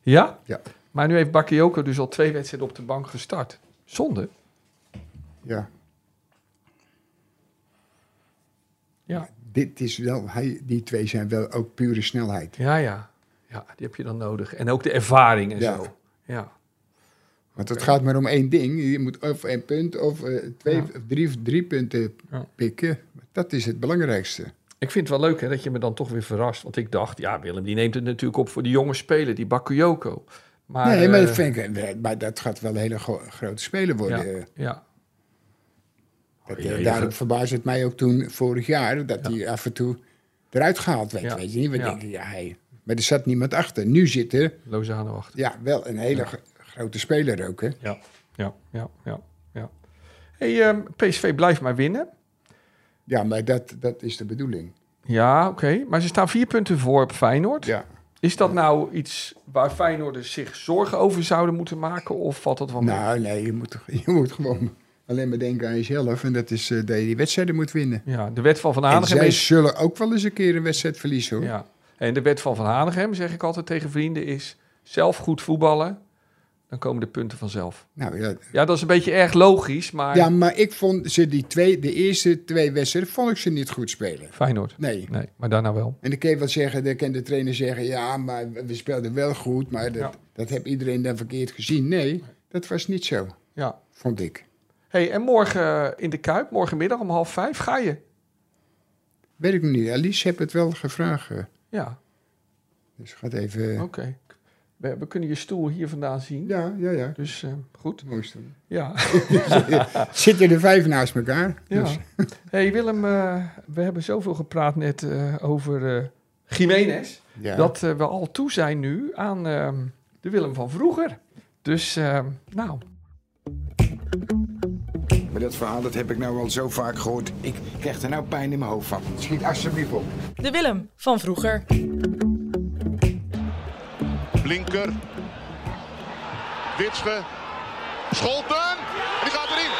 [SPEAKER 3] Ja?
[SPEAKER 2] Ja.
[SPEAKER 3] Maar nu heeft Bakayoko dus al twee wedstrijden op de bank gestart. Zonde.
[SPEAKER 2] Ja.
[SPEAKER 3] Ja.
[SPEAKER 2] Dit is wel, hij, die twee zijn wel ook pure snelheid.
[SPEAKER 3] Ja, ja. Ja, die heb je dan nodig. En ook de ervaring en
[SPEAKER 2] Ja.
[SPEAKER 3] zo. Ja.
[SPEAKER 2] Want het gaat maar om één ding. Je moet of één punt of eh, twee,
[SPEAKER 3] Ja.
[SPEAKER 2] of drie, drie punten
[SPEAKER 3] Ja.
[SPEAKER 2] pikken. Dat is het belangrijkste.
[SPEAKER 3] Ik vind het wel leuk hè, dat je me dan toch weer verrast. Want ik dacht, ja, Willem, die neemt het natuurlijk op voor die jonge speler, die Bakayoko. Maar,
[SPEAKER 2] nee, maar,
[SPEAKER 3] eh,
[SPEAKER 2] dat vind ik, eh, maar dat gaat wel een hele gro- grote speler
[SPEAKER 3] ja,
[SPEAKER 2] worden. eh.
[SPEAKER 3] ja,
[SPEAKER 2] Dat,
[SPEAKER 3] Oh,
[SPEAKER 2] eh,
[SPEAKER 3] jee,
[SPEAKER 2] daarom
[SPEAKER 3] dat-
[SPEAKER 2] verbaasde het mij ook toen vorig jaar dat hij af en toe eruit gehaald werd.
[SPEAKER 3] Ja.
[SPEAKER 2] Weet je niet? We
[SPEAKER 3] Ja.
[SPEAKER 2] denken, ja, hey. Maar er zat niemand achter. Nu zit er
[SPEAKER 3] Lozano achter.
[SPEAKER 2] ja, wel een hele g- grote speler ook. Hè?
[SPEAKER 3] Ja, ja, ja, ja. ja. Hey, ehm, PSV blijft maar winnen.
[SPEAKER 2] Ja, maar dat, dat is de bedoeling.
[SPEAKER 3] Ja, oké. Maar ze staan vier punten voor op Feyenoord.
[SPEAKER 2] Ja.
[SPEAKER 3] Is dat nou iets waar Feyenoorders zich zorgen over zouden moeten maken? Of valt dat wel mee?
[SPEAKER 2] Nou, nee, je moet, je moet gewoon alleen maar denken aan jezelf. En dat is eh, dat je die wedstrijden moet winnen.
[SPEAKER 3] Ja, de wet van Van
[SPEAKER 2] En
[SPEAKER 3] Hanegem
[SPEAKER 2] zij
[SPEAKER 3] is...
[SPEAKER 2] zullen ook wel eens een keer een wedstrijd verliezen hoor.
[SPEAKER 3] Ja. En de wet van Van Hanegem, zeg ik altijd tegen vrienden, is zelf goed voetballen. Dan komen de punten vanzelf.
[SPEAKER 2] Nou, ja.
[SPEAKER 3] Ja, dat is een beetje erg logisch, maar...
[SPEAKER 2] ja, maar ik vond ze die twee, de eerste twee wedstrijden, vond ik ze niet goed spelen.
[SPEAKER 3] Feyenoord.
[SPEAKER 2] Nee.
[SPEAKER 3] Nee, maar daarna wel.
[SPEAKER 2] En dan kan je wel zeggen, dan kan de trainer zeggen, ja, maar we speelden wel goed, maar dat,
[SPEAKER 3] Ja.
[SPEAKER 2] dat heb iedereen dan verkeerd gezien. Nee, dat was niet zo,
[SPEAKER 3] Ja.
[SPEAKER 2] vond ik.
[SPEAKER 3] hey, en morgen eh, in de Kuip, morgenmiddag om half vijf, ga je?
[SPEAKER 2] Weet ik nog niet. Alice heb het wel gevraagd. eh,
[SPEAKER 3] Ja,
[SPEAKER 2] Dus gaat even.
[SPEAKER 3] oké. We, we kunnen je stoel hier vandaan zien.
[SPEAKER 2] Ja, ja, ja.
[SPEAKER 3] Dus eh, goed.
[SPEAKER 2] Het mooiste.
[SPEAKER 3] Ja.
[SPEAKER 2] Zitten er vijf naast elkaar?
[SPEAKER 3] ja.
[SPEAKER 2] Dus,
[SPEAKER 3] hey, Willem, eh, we hebben zoveel gepraat net eh, over eh Jiménez.
[SPEAKER 2] ja.
[SPEAKER 3] Dat eh, we al toe zijn nu aan ehm, de Willem van vroeger. Dus, ehm, nou,
[SPEAKER 6] Maar dat verhaal dat heb ik nou al zo vaak gehoord. Ik krijg er nou pijn in mijn hoofd van.
[SPEAKER 2] Schiet alsjeblieft op.
[SPEAKER 4] De Willem van vroeger.
[SPEAKER 7] Blinker. Witsche. Scholten. En die gaat erin.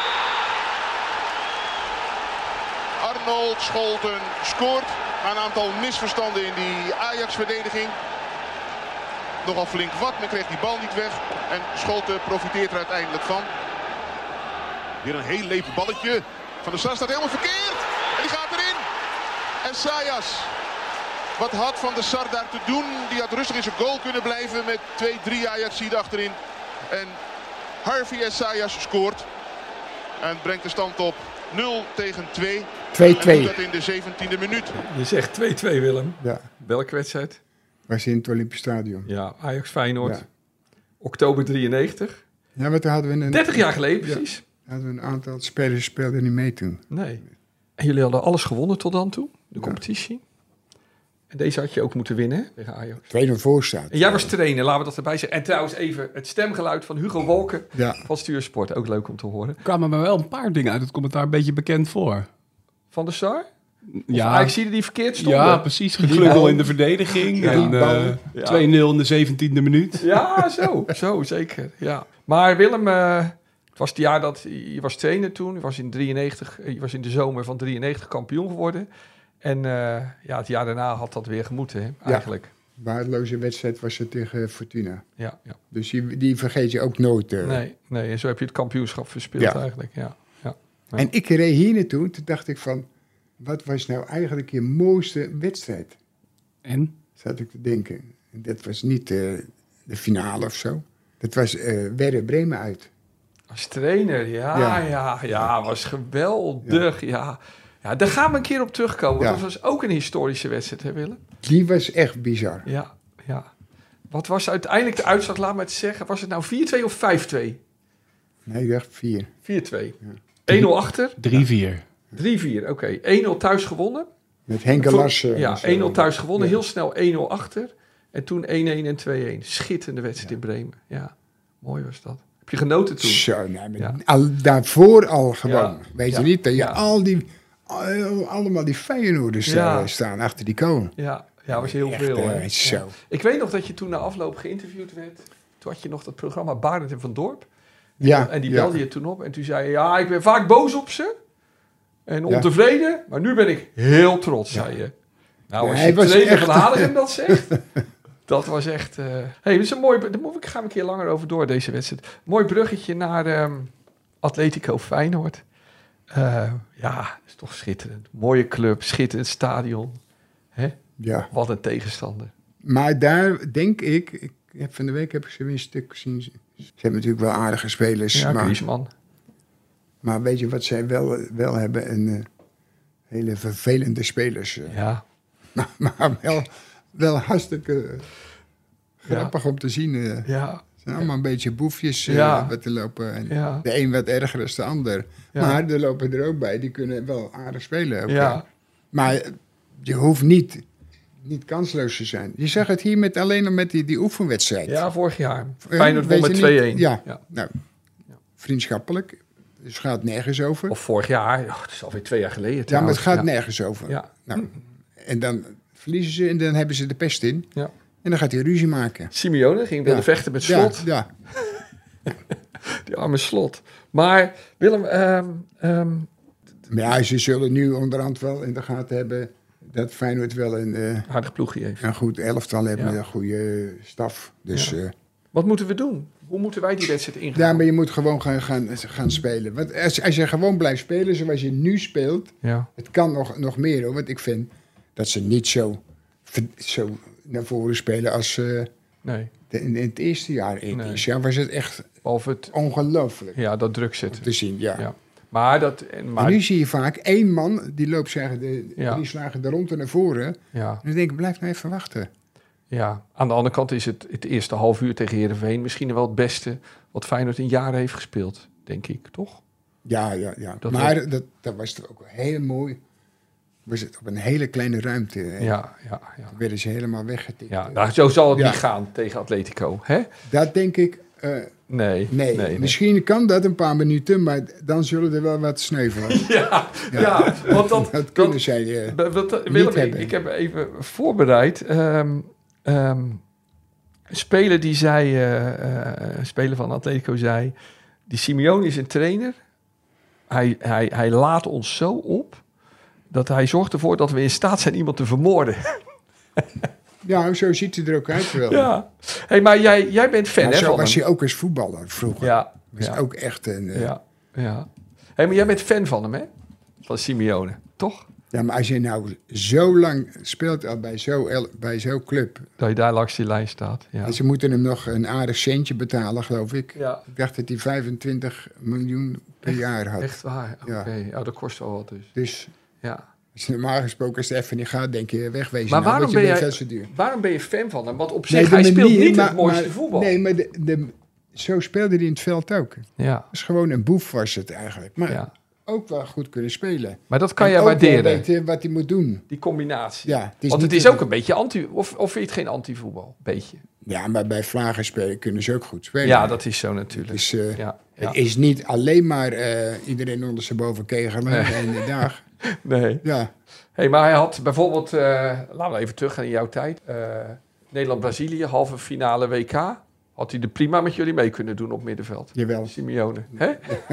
[SPEAKER 7] Arnold Scholten scoort. Na een aantal misverstanden in die Ajax-verdediging. Nogal flink wat, men kreeg die bal niet weg. En Scholten profiteert er uiteindelijk van. Weer een heel levend balletje. Van der Sar staat helemaal verkeerd. En die gaat erin. En Sayas wat had Van der Sar daar te doen? Die had rustig in zijn goal kunnen blijven met 2-3 Ajaxiden achterin. En Harvey Essayas scoort. En brengt de stand op 0 tegen 2. En
[SPEAKER 2] 2-2.
[SPEAKER 7] doet dat in de 17e minuut.
[SPEAKER 3] je zegt 2-2 Willem.
[SPEAKER 2] Ja,
[SPEAKER 3] Welke wedstrijd?
[SPEAKER 2] was in het Olympisch Stadion.
[SPEAKER 3] Ja, Ajax-Feyenoord.
[SPEAKER 2] Ja.
[SPEAKER 3] Oktober 93.
[SPEAKER 2] Ja, maar toen hadden we een.
[SPEAKER 3] 30 jaar geleden, precies.
[SPEAKER 2] Hadden we een aantal spelers speelden niet mee toen.
[SPEAKER 3] Nee. En jullie hadden alles gewonnen tot dan toe, de competitie. En deze had je ook moeten winnen hè, tegen Ajax.
[SPEAKER 2] 2-0 voor staat.
[SPEAKER 3] En jij was trainer, laten we dat erbij zeggen. En trouwens even het stemgeluid van Hugo Wolken
[SPEAKER 2] Ja.
[SPEAKER 3] van Stuursport. Ook leuk om te horen.
[SPEAKER 5] kwamen me wel een paar dingen uit het commentaar een beetje bekend voor.
[SPEAKER 3] Van de Sar? Ja.
[SPEAKER 5] Ja,
[SPEAKER 3] Ajax zie die verkeerd stonden.
[SPEAKER 5] ja precies. Geklungel
[SPEAKER 2] bal.
[SPEAKER 5] in de verdediging. En
[SPEAKER 2] bal.
[SPEAKER 5] eh, 2-0 in de 17e minuut.
[SPEAKER 3] Ja, zo. Zo, zeker. Ja. Maar Willem, eh, het was het jaar dat je was trainer toen. Je was in, 93, je was in de zomer van 93 kampioen geworden. En eh, ja, het jaar daarna had dat weer gemoeten, hè, eigenlijk.
[SPEAKER 2] Waardeloze wedstrijd was het tegen Fortuna.
[SPEAKER 3] Ja, ja.
[SPEAKER 2] Dus die, die vergeet je ook nooit. eh.
[SPEAKER 3] Nee, nee, en zo heb je het kampioenschap verspeeld
[SPEAKER 2] Ja.
[SPEAKER 3] eigenlijk. Ja.
[SPEAKER 2] En ik reed hier naartoe, toen dacht ik van... Wat was nou eigenlijk je mooiste wedstrijd?
[SPEAKER 5] En?
[SPEAKER 2] Zat ik te denken. Dat was niet eh, de finale of zo. Dat was eh Werder Bremen uit.
[SPEAKER 3] Als trainer, ja, ja,
[SPEAKER 2] Ja.
[SPEAKER 3] ja, was geweldig. Ja. Ja. daar gaan we een keer op terugkomen. want
[SPEAKER 2] Ja.
[SPEAKER 3] Dat was ook een historische wedstrijd, hè Willem?
[SPEAKER 2] Die was echt bizar.
[SPEAKER 3] Ja, ja. Wat was uiteindelijk de uitslag? Laat me het zeggen. Was het nou 4-2 of 5-2?
[SPEAKER 2] Nee, ik dacht vier.
[SPEAKER 3] 4-2. 1-0 achter,
[SPEAKER 5] 3-4.
[SPEAKER 3] 3-4. Oké, 1-0 thuis gewonnen.
[SPEAKER 2] Met Henk
[SPEAKER 3] Voor-
[SPEAKER 2] Larsen.
[SPEAKER 3] dus, eh, ja, 1-0
[SPEAKER 2] 1
[SPEAKER 3] thuis gewonnen. Heel snel 1-0 achter. En toen 1-1 en 2-1. Schitterende wedstrijd in Bremen. Ja, mooi was dat. Heb je genoten toen?
[SPEAKER 2] Zo, nee, maar
[SPEAKER 3] Ja.
[SPEAKER 2] al, daarvoor al gewoon.
[SPEAKER 3] Ja.
[SPEAKER 2] Weet
[SPEAKER 3] Ja.
[SPEAKER 2] je niet, dat je
[SPEAKER 3] Ja.
[SPEAKER 2] al die, al- allemaal die Feyenoorders
[SPEAKER 3] Ja.
[SPEAKER 2] eh, staan achter die kolen.
[SPEAKER 3] Ja, ja was heel
[SPEAKER 2] Echt,
[SPEAKER 3] veel.
[SPEAKER 2] eh,
[SPEAKER 3] hè? Ja.
[SPEAKER 2] zo.
[SPEAKER 3] Ik weet nog dat je toen na afloop geïnterviewd werd. Toen had je nog dat programma Barend en Van Dorp.
[SPEAKER 2] Ja,
[SPEAKER 3] En die
[SPEAKER 2] ja.
[SPEAKER 3] belde je toen op. En toen zei je, ja, ik ben vaak boos op ze. En ontevreden. Maar nu ben ik heel trots, zei je. Nou,
[SPEAKER 2] Ja,
[SPEAKER 3] als
[SPEAKER 2] hij
[SPEAKER 3] je
[SPEAKER 2] was
[SPEAKER 3] trainer
[SPEAKER 2] echt-
[SPEAKER 3] van Halen dat zegt. dat was echt... eh hey, dit is een mooi... Daar moet ik- gaan we een keer langer over door, deze wedstrijd. Mooi bruggetje naar ehm, Atletico Feyenoord. Eh, ja, is toch schitterend. Mooie club, schitterend stadion.
[SPEAKER 2] Ja.
[SPEAKER 3] Wat een tegenstander.
[SPEAKER 2] Maar daar denk ik, ik heb van de week heb ik ze weer een stuk gezien. Ze hebben natuurlijk wel aardige spelers.
[SPEAKER 3] Ja,
[SPEAKER 2] maar,
[SPEAKER 3] Griezmann.
[SPEAKER 2] maar weet je wat zij wel, wel hebben? Een, eh, hele vervelende spelers. eh.
[SPEAKER 3] Ja.
[SPEAKER 2] Maar, maar wel, wel hartstikke eh, grappig om te zien. eh.
[SPEAKER 3] Ja,
[SPEAKER 2] Het zijn allemaal een beetje boefjes eh,
[SPEAKER 3] Ja.
[SPEAKER 2] wat te lopen. En
[SPEAKER 3] ja,
[SPEAKER 2] De een wat erger dan de ander.
[SPEAKER 3] Ja.
[SPEAKER 2] Maar er lopen er ook bij, die kunnen wel aardig spelen. ook, hè.
[SPEAKER 3] ja.
[SPEAKER 2] Maar je hoeft niet, niet kansloos te zijn. Je zag het hier met, alleen al met die, die oefenwedstrijd.
[SPEAKER 3] Ja, vorig jaar.
[SPEAKER 2] Eh,
[SPEAKER 3] Feyenoord won
[SPEAKER 2] weet
[SPEAKER 3] met 2-1.
[SPEAKER 2] je niet- Ja.
[SPEAKER 3] Ja.
[SPEAKER 2] Nou, vriendschappelijk. Dus gaat nergens over.
[SPEAKER 3] Of vorig jaar. Oh, het is alweer twee jaar geleden
[SPEAKER 2] ja, maar
[SPEAKER 3] trouwens.
[SPEAKER 2] het gaat
[SPEAKER 3] ja.
[SPEAKER 2] nergens over.
[SPEAKER 3] Ja.
[SPEAKER 2] Nou, en dan verliezen ze en dan hebben ze de pest in.
[SPEAKER 3] Ja.
[SPEAKER 2] En dan gaat hij ruzie maken.
[SPEAKER 3] Simeone ging wilde
[SPEAKER 2] Ja.
[SPEAKER 3] vechten met Slot.
[SPEAKER 2] Ja, ja.
[SPEAKER 3] Die arme Slot. Maar Willem, ehm, ehm,
[SPEAKER 2] Maar ja, ze zullen nu onderhand wel in de gaten hebben... dat Feyenoord wel een, eh,
[SPEAKER 3] aardig ploegje heeft.
[SPEAKER 2] een goed elftal hebben...
[SPEAKER 3] Ja.
[SPEAKER 2] met een goede staf. Dus... eh,
[SPEAKER 3] Wat moeten we doen? Hoe moeten wij die wedstrijd ingaan?
[SPEAKER 2] Ja, maar je moet gewoon gaan, gaan, gaan spelen. Want als, als je gewoon blijft spelen zoals je nu speelt,
[SPEAKER 3] Ja.
[SPEAKER 2] het kan nog, nog meer hoor. Want ik vind dat ze niet zo, ver- zo naar voren spelen als eh,
[SPEAKER 3] Nee,
[SPEAKER 2] de- in, in het eerste jaar. In het
[SPEAKER 3] Nee.
[SPEAKER 2] eerste jaar was het echt
[SPEAKER 3] behalve het,
[SPEAKER 2] ongelooflijk
[SPEAKER 3] ja, dat druk zetten.
[SPEAKER 2] te zien. Ja.
[SPEAKER 3] Ja. Maar dat... En, maar,
[SPEAKER 2] En nu zie je vaak één man die loopt zeggen de,
[SPEAKER 3] Ja.
[SPEAKER 2] drie slagen de ronde naar voren. En
[SPEAKER 3] ja,
[SPEAKER 2] dan denk ik, blijf nou even wachten.
[SPEAKER 3] ja. Aan de andere kant is het, het eerste half uur tegen Heerenveen misschien wel het beste wat Feyenoord in jaren heeft gespeeld. Denk ik, toch?
[SPEAKER 2] Ja, ja, ja.
[SPEAKER 3] Dat
[SPEAKER 2] maar dat, dat was toch ook heel mooi. Was het op een hele kleine ruimte. hè.
[SPEAKER 3] Ja, ja, ja.
[SPEAKER 2] Dan werden ze helemaal weggetikt.
[SPEAKER 3] Ja, nou, zo zal het
[SPEAKER 2] Ja.
[SPEAKER 3] niet gaan tegen Atletico, hè?
[SPEAKER 2] Dat denk ik. eh, nee,
[SPEAKER 3] Nee.
[SPEAKER 2] misschien kan dat een paar minuten, maar dan zullen er wel wat sneuvelen.
[SPEAKER 3] Ja, ja. want dat...
[SPEAKER 2] dat kunnen zij. eh,
[SPEAKER 3] dat- dat- dat- Willem, ik,
[SPEAKER 2] hebben.
[SPEAKER 3] ik heb even voorbereid. ehm, ehm, een speler die zei... eh, eh, een speler van Atletico zei... Die Simeone is een trainer. Hij, hij, hij laat ons zo op... dat hij zorgt ervoor dat we in staat zijn iemand te vermoorden.
[SPEAKER 2] Oh. ja, zo ziet hij er ook uit wel.
[SPEAKER 3] Ja. hey, maar jij, jij bent fan,
[SPEAKER 2] Maar
[SPEAKER 3] hè,
[SPEAKER 2] zo
[SPEAKER 3] van
[SPEAKER 2] was
[SPEAKER 3] hem?
[SPEAKER 2] hij ook als voetballer vroeger.
[SPEAKER 3] Ja,
[SPEAKER 2] Was
[SPEAKER 3] ja.
[SPEAKER 2] ook echt een, eh, ja.
[SPEAKER 3] Ja, ja. Hé, maar jij bent fan van hem, hè? Van Simeone, toch?
[SPEAKER 2] maar als je nou zo lang speelt al bij zo'n el- bij zo'n club.
[SPEAKER 3] Dat je daar langs die lijn staat. Ja,
[SPEAKER 2] En ze moeten hem nog een aardig centje betalen, geloof ik.
[SPEAKER 3] ja
[SPEAKER 2] Ik dacht dat hij 25 miljoen per jaar had.
[SPEAKER 3] echt waar. Oké,
[SPEAKER 2] Ja.
[SPEAKER 3] ja, dat kost wel wat dus.
[SPEAKER 2] Dus
[SPEAKER 3] Ja.
[SPEAKER 2] als je normaal gesproken als het even niet gaat, denk je wegwezen.
[SPEAKER 3] Maar
[SPEAKER 2] nou,
[SPEAKER 3] waarom
[SPEAKER 2] want
[SPEAKER 3] ben
[SPEAKER 2] je bent
[SPEAKER 3] jij-
[SPEAKER 2] veel te duur.
[SPEAKER 3] Waarom ben je fan van hem? Want op
[SPEAKER 2] Nee,
[SPEAKER 3] zich,
[SPEAKER 2] de
[SPEAKER 3] hij speelt
[SPEAKER 2] manier,
[SPEAKER 3] niet
[SPEAKER 2] maar-
[SPEAKER 3] het mooiste
[SPEAKER 2] maar-
[SPEAKER 3] voetbal.
[SPEAKER 2] Nee, maar de, de, zo speelde hij in het veld ook.
[SPEAKER 3] Ja,
[SPEAKER 2] Dus gewoon een boef was het eigenlijk. Maar
[SPEAKER 3] ja.
[SPEAKER 2] ook wel goed kunnen spelen.
[SPEAKER 3] Maar dat kan
[SPEAKER 2] En
[SPEAKER 3] jij
[SPEAKER 2] ook wel
[SPEAKER 3] waarderen,
[SPEAKER 2] weten wat hij moet doen.
[SPEAKER 3] die combinatie.
[SPEAKER 2] Ja, het is
[SPEAKER 3] Want het
[SPEAKER 2] niet-
[SPEAKER 3] is ook een beetje anti... Of, of vind je het geen anti-voetbal? Beetje.
[SPEAKER 2] Ja, maar bij vlagen spelen kunnen ze ook goed spelen.
[SPEAKER 3] Ja, dat is zo natuurlijk.
[SPEAKER 2] Dus, eh,
[SPEAKER 3] Ja,
[SPEAKER 2] Het
[SPEAKER 3] ja.
[SPEAKER 2] is niet alleen maar eh, iedereen onder zijn boven kegelen en de dag.
[SPEAKER 3] Nee.
[SPEAKER 2] Ja,
[SPEAKER 3] Hey, maar hij had bijvoorbeeld, eh, laten we even teruggaan in jouw tijd. eh, Nederland-Brazilië, halve finale WK. Had hij er prima met jullie mee kunnen doen op middenveld.
[SPEAKER 2] jawel.
[SPEAKER 3] Simeone. Hè?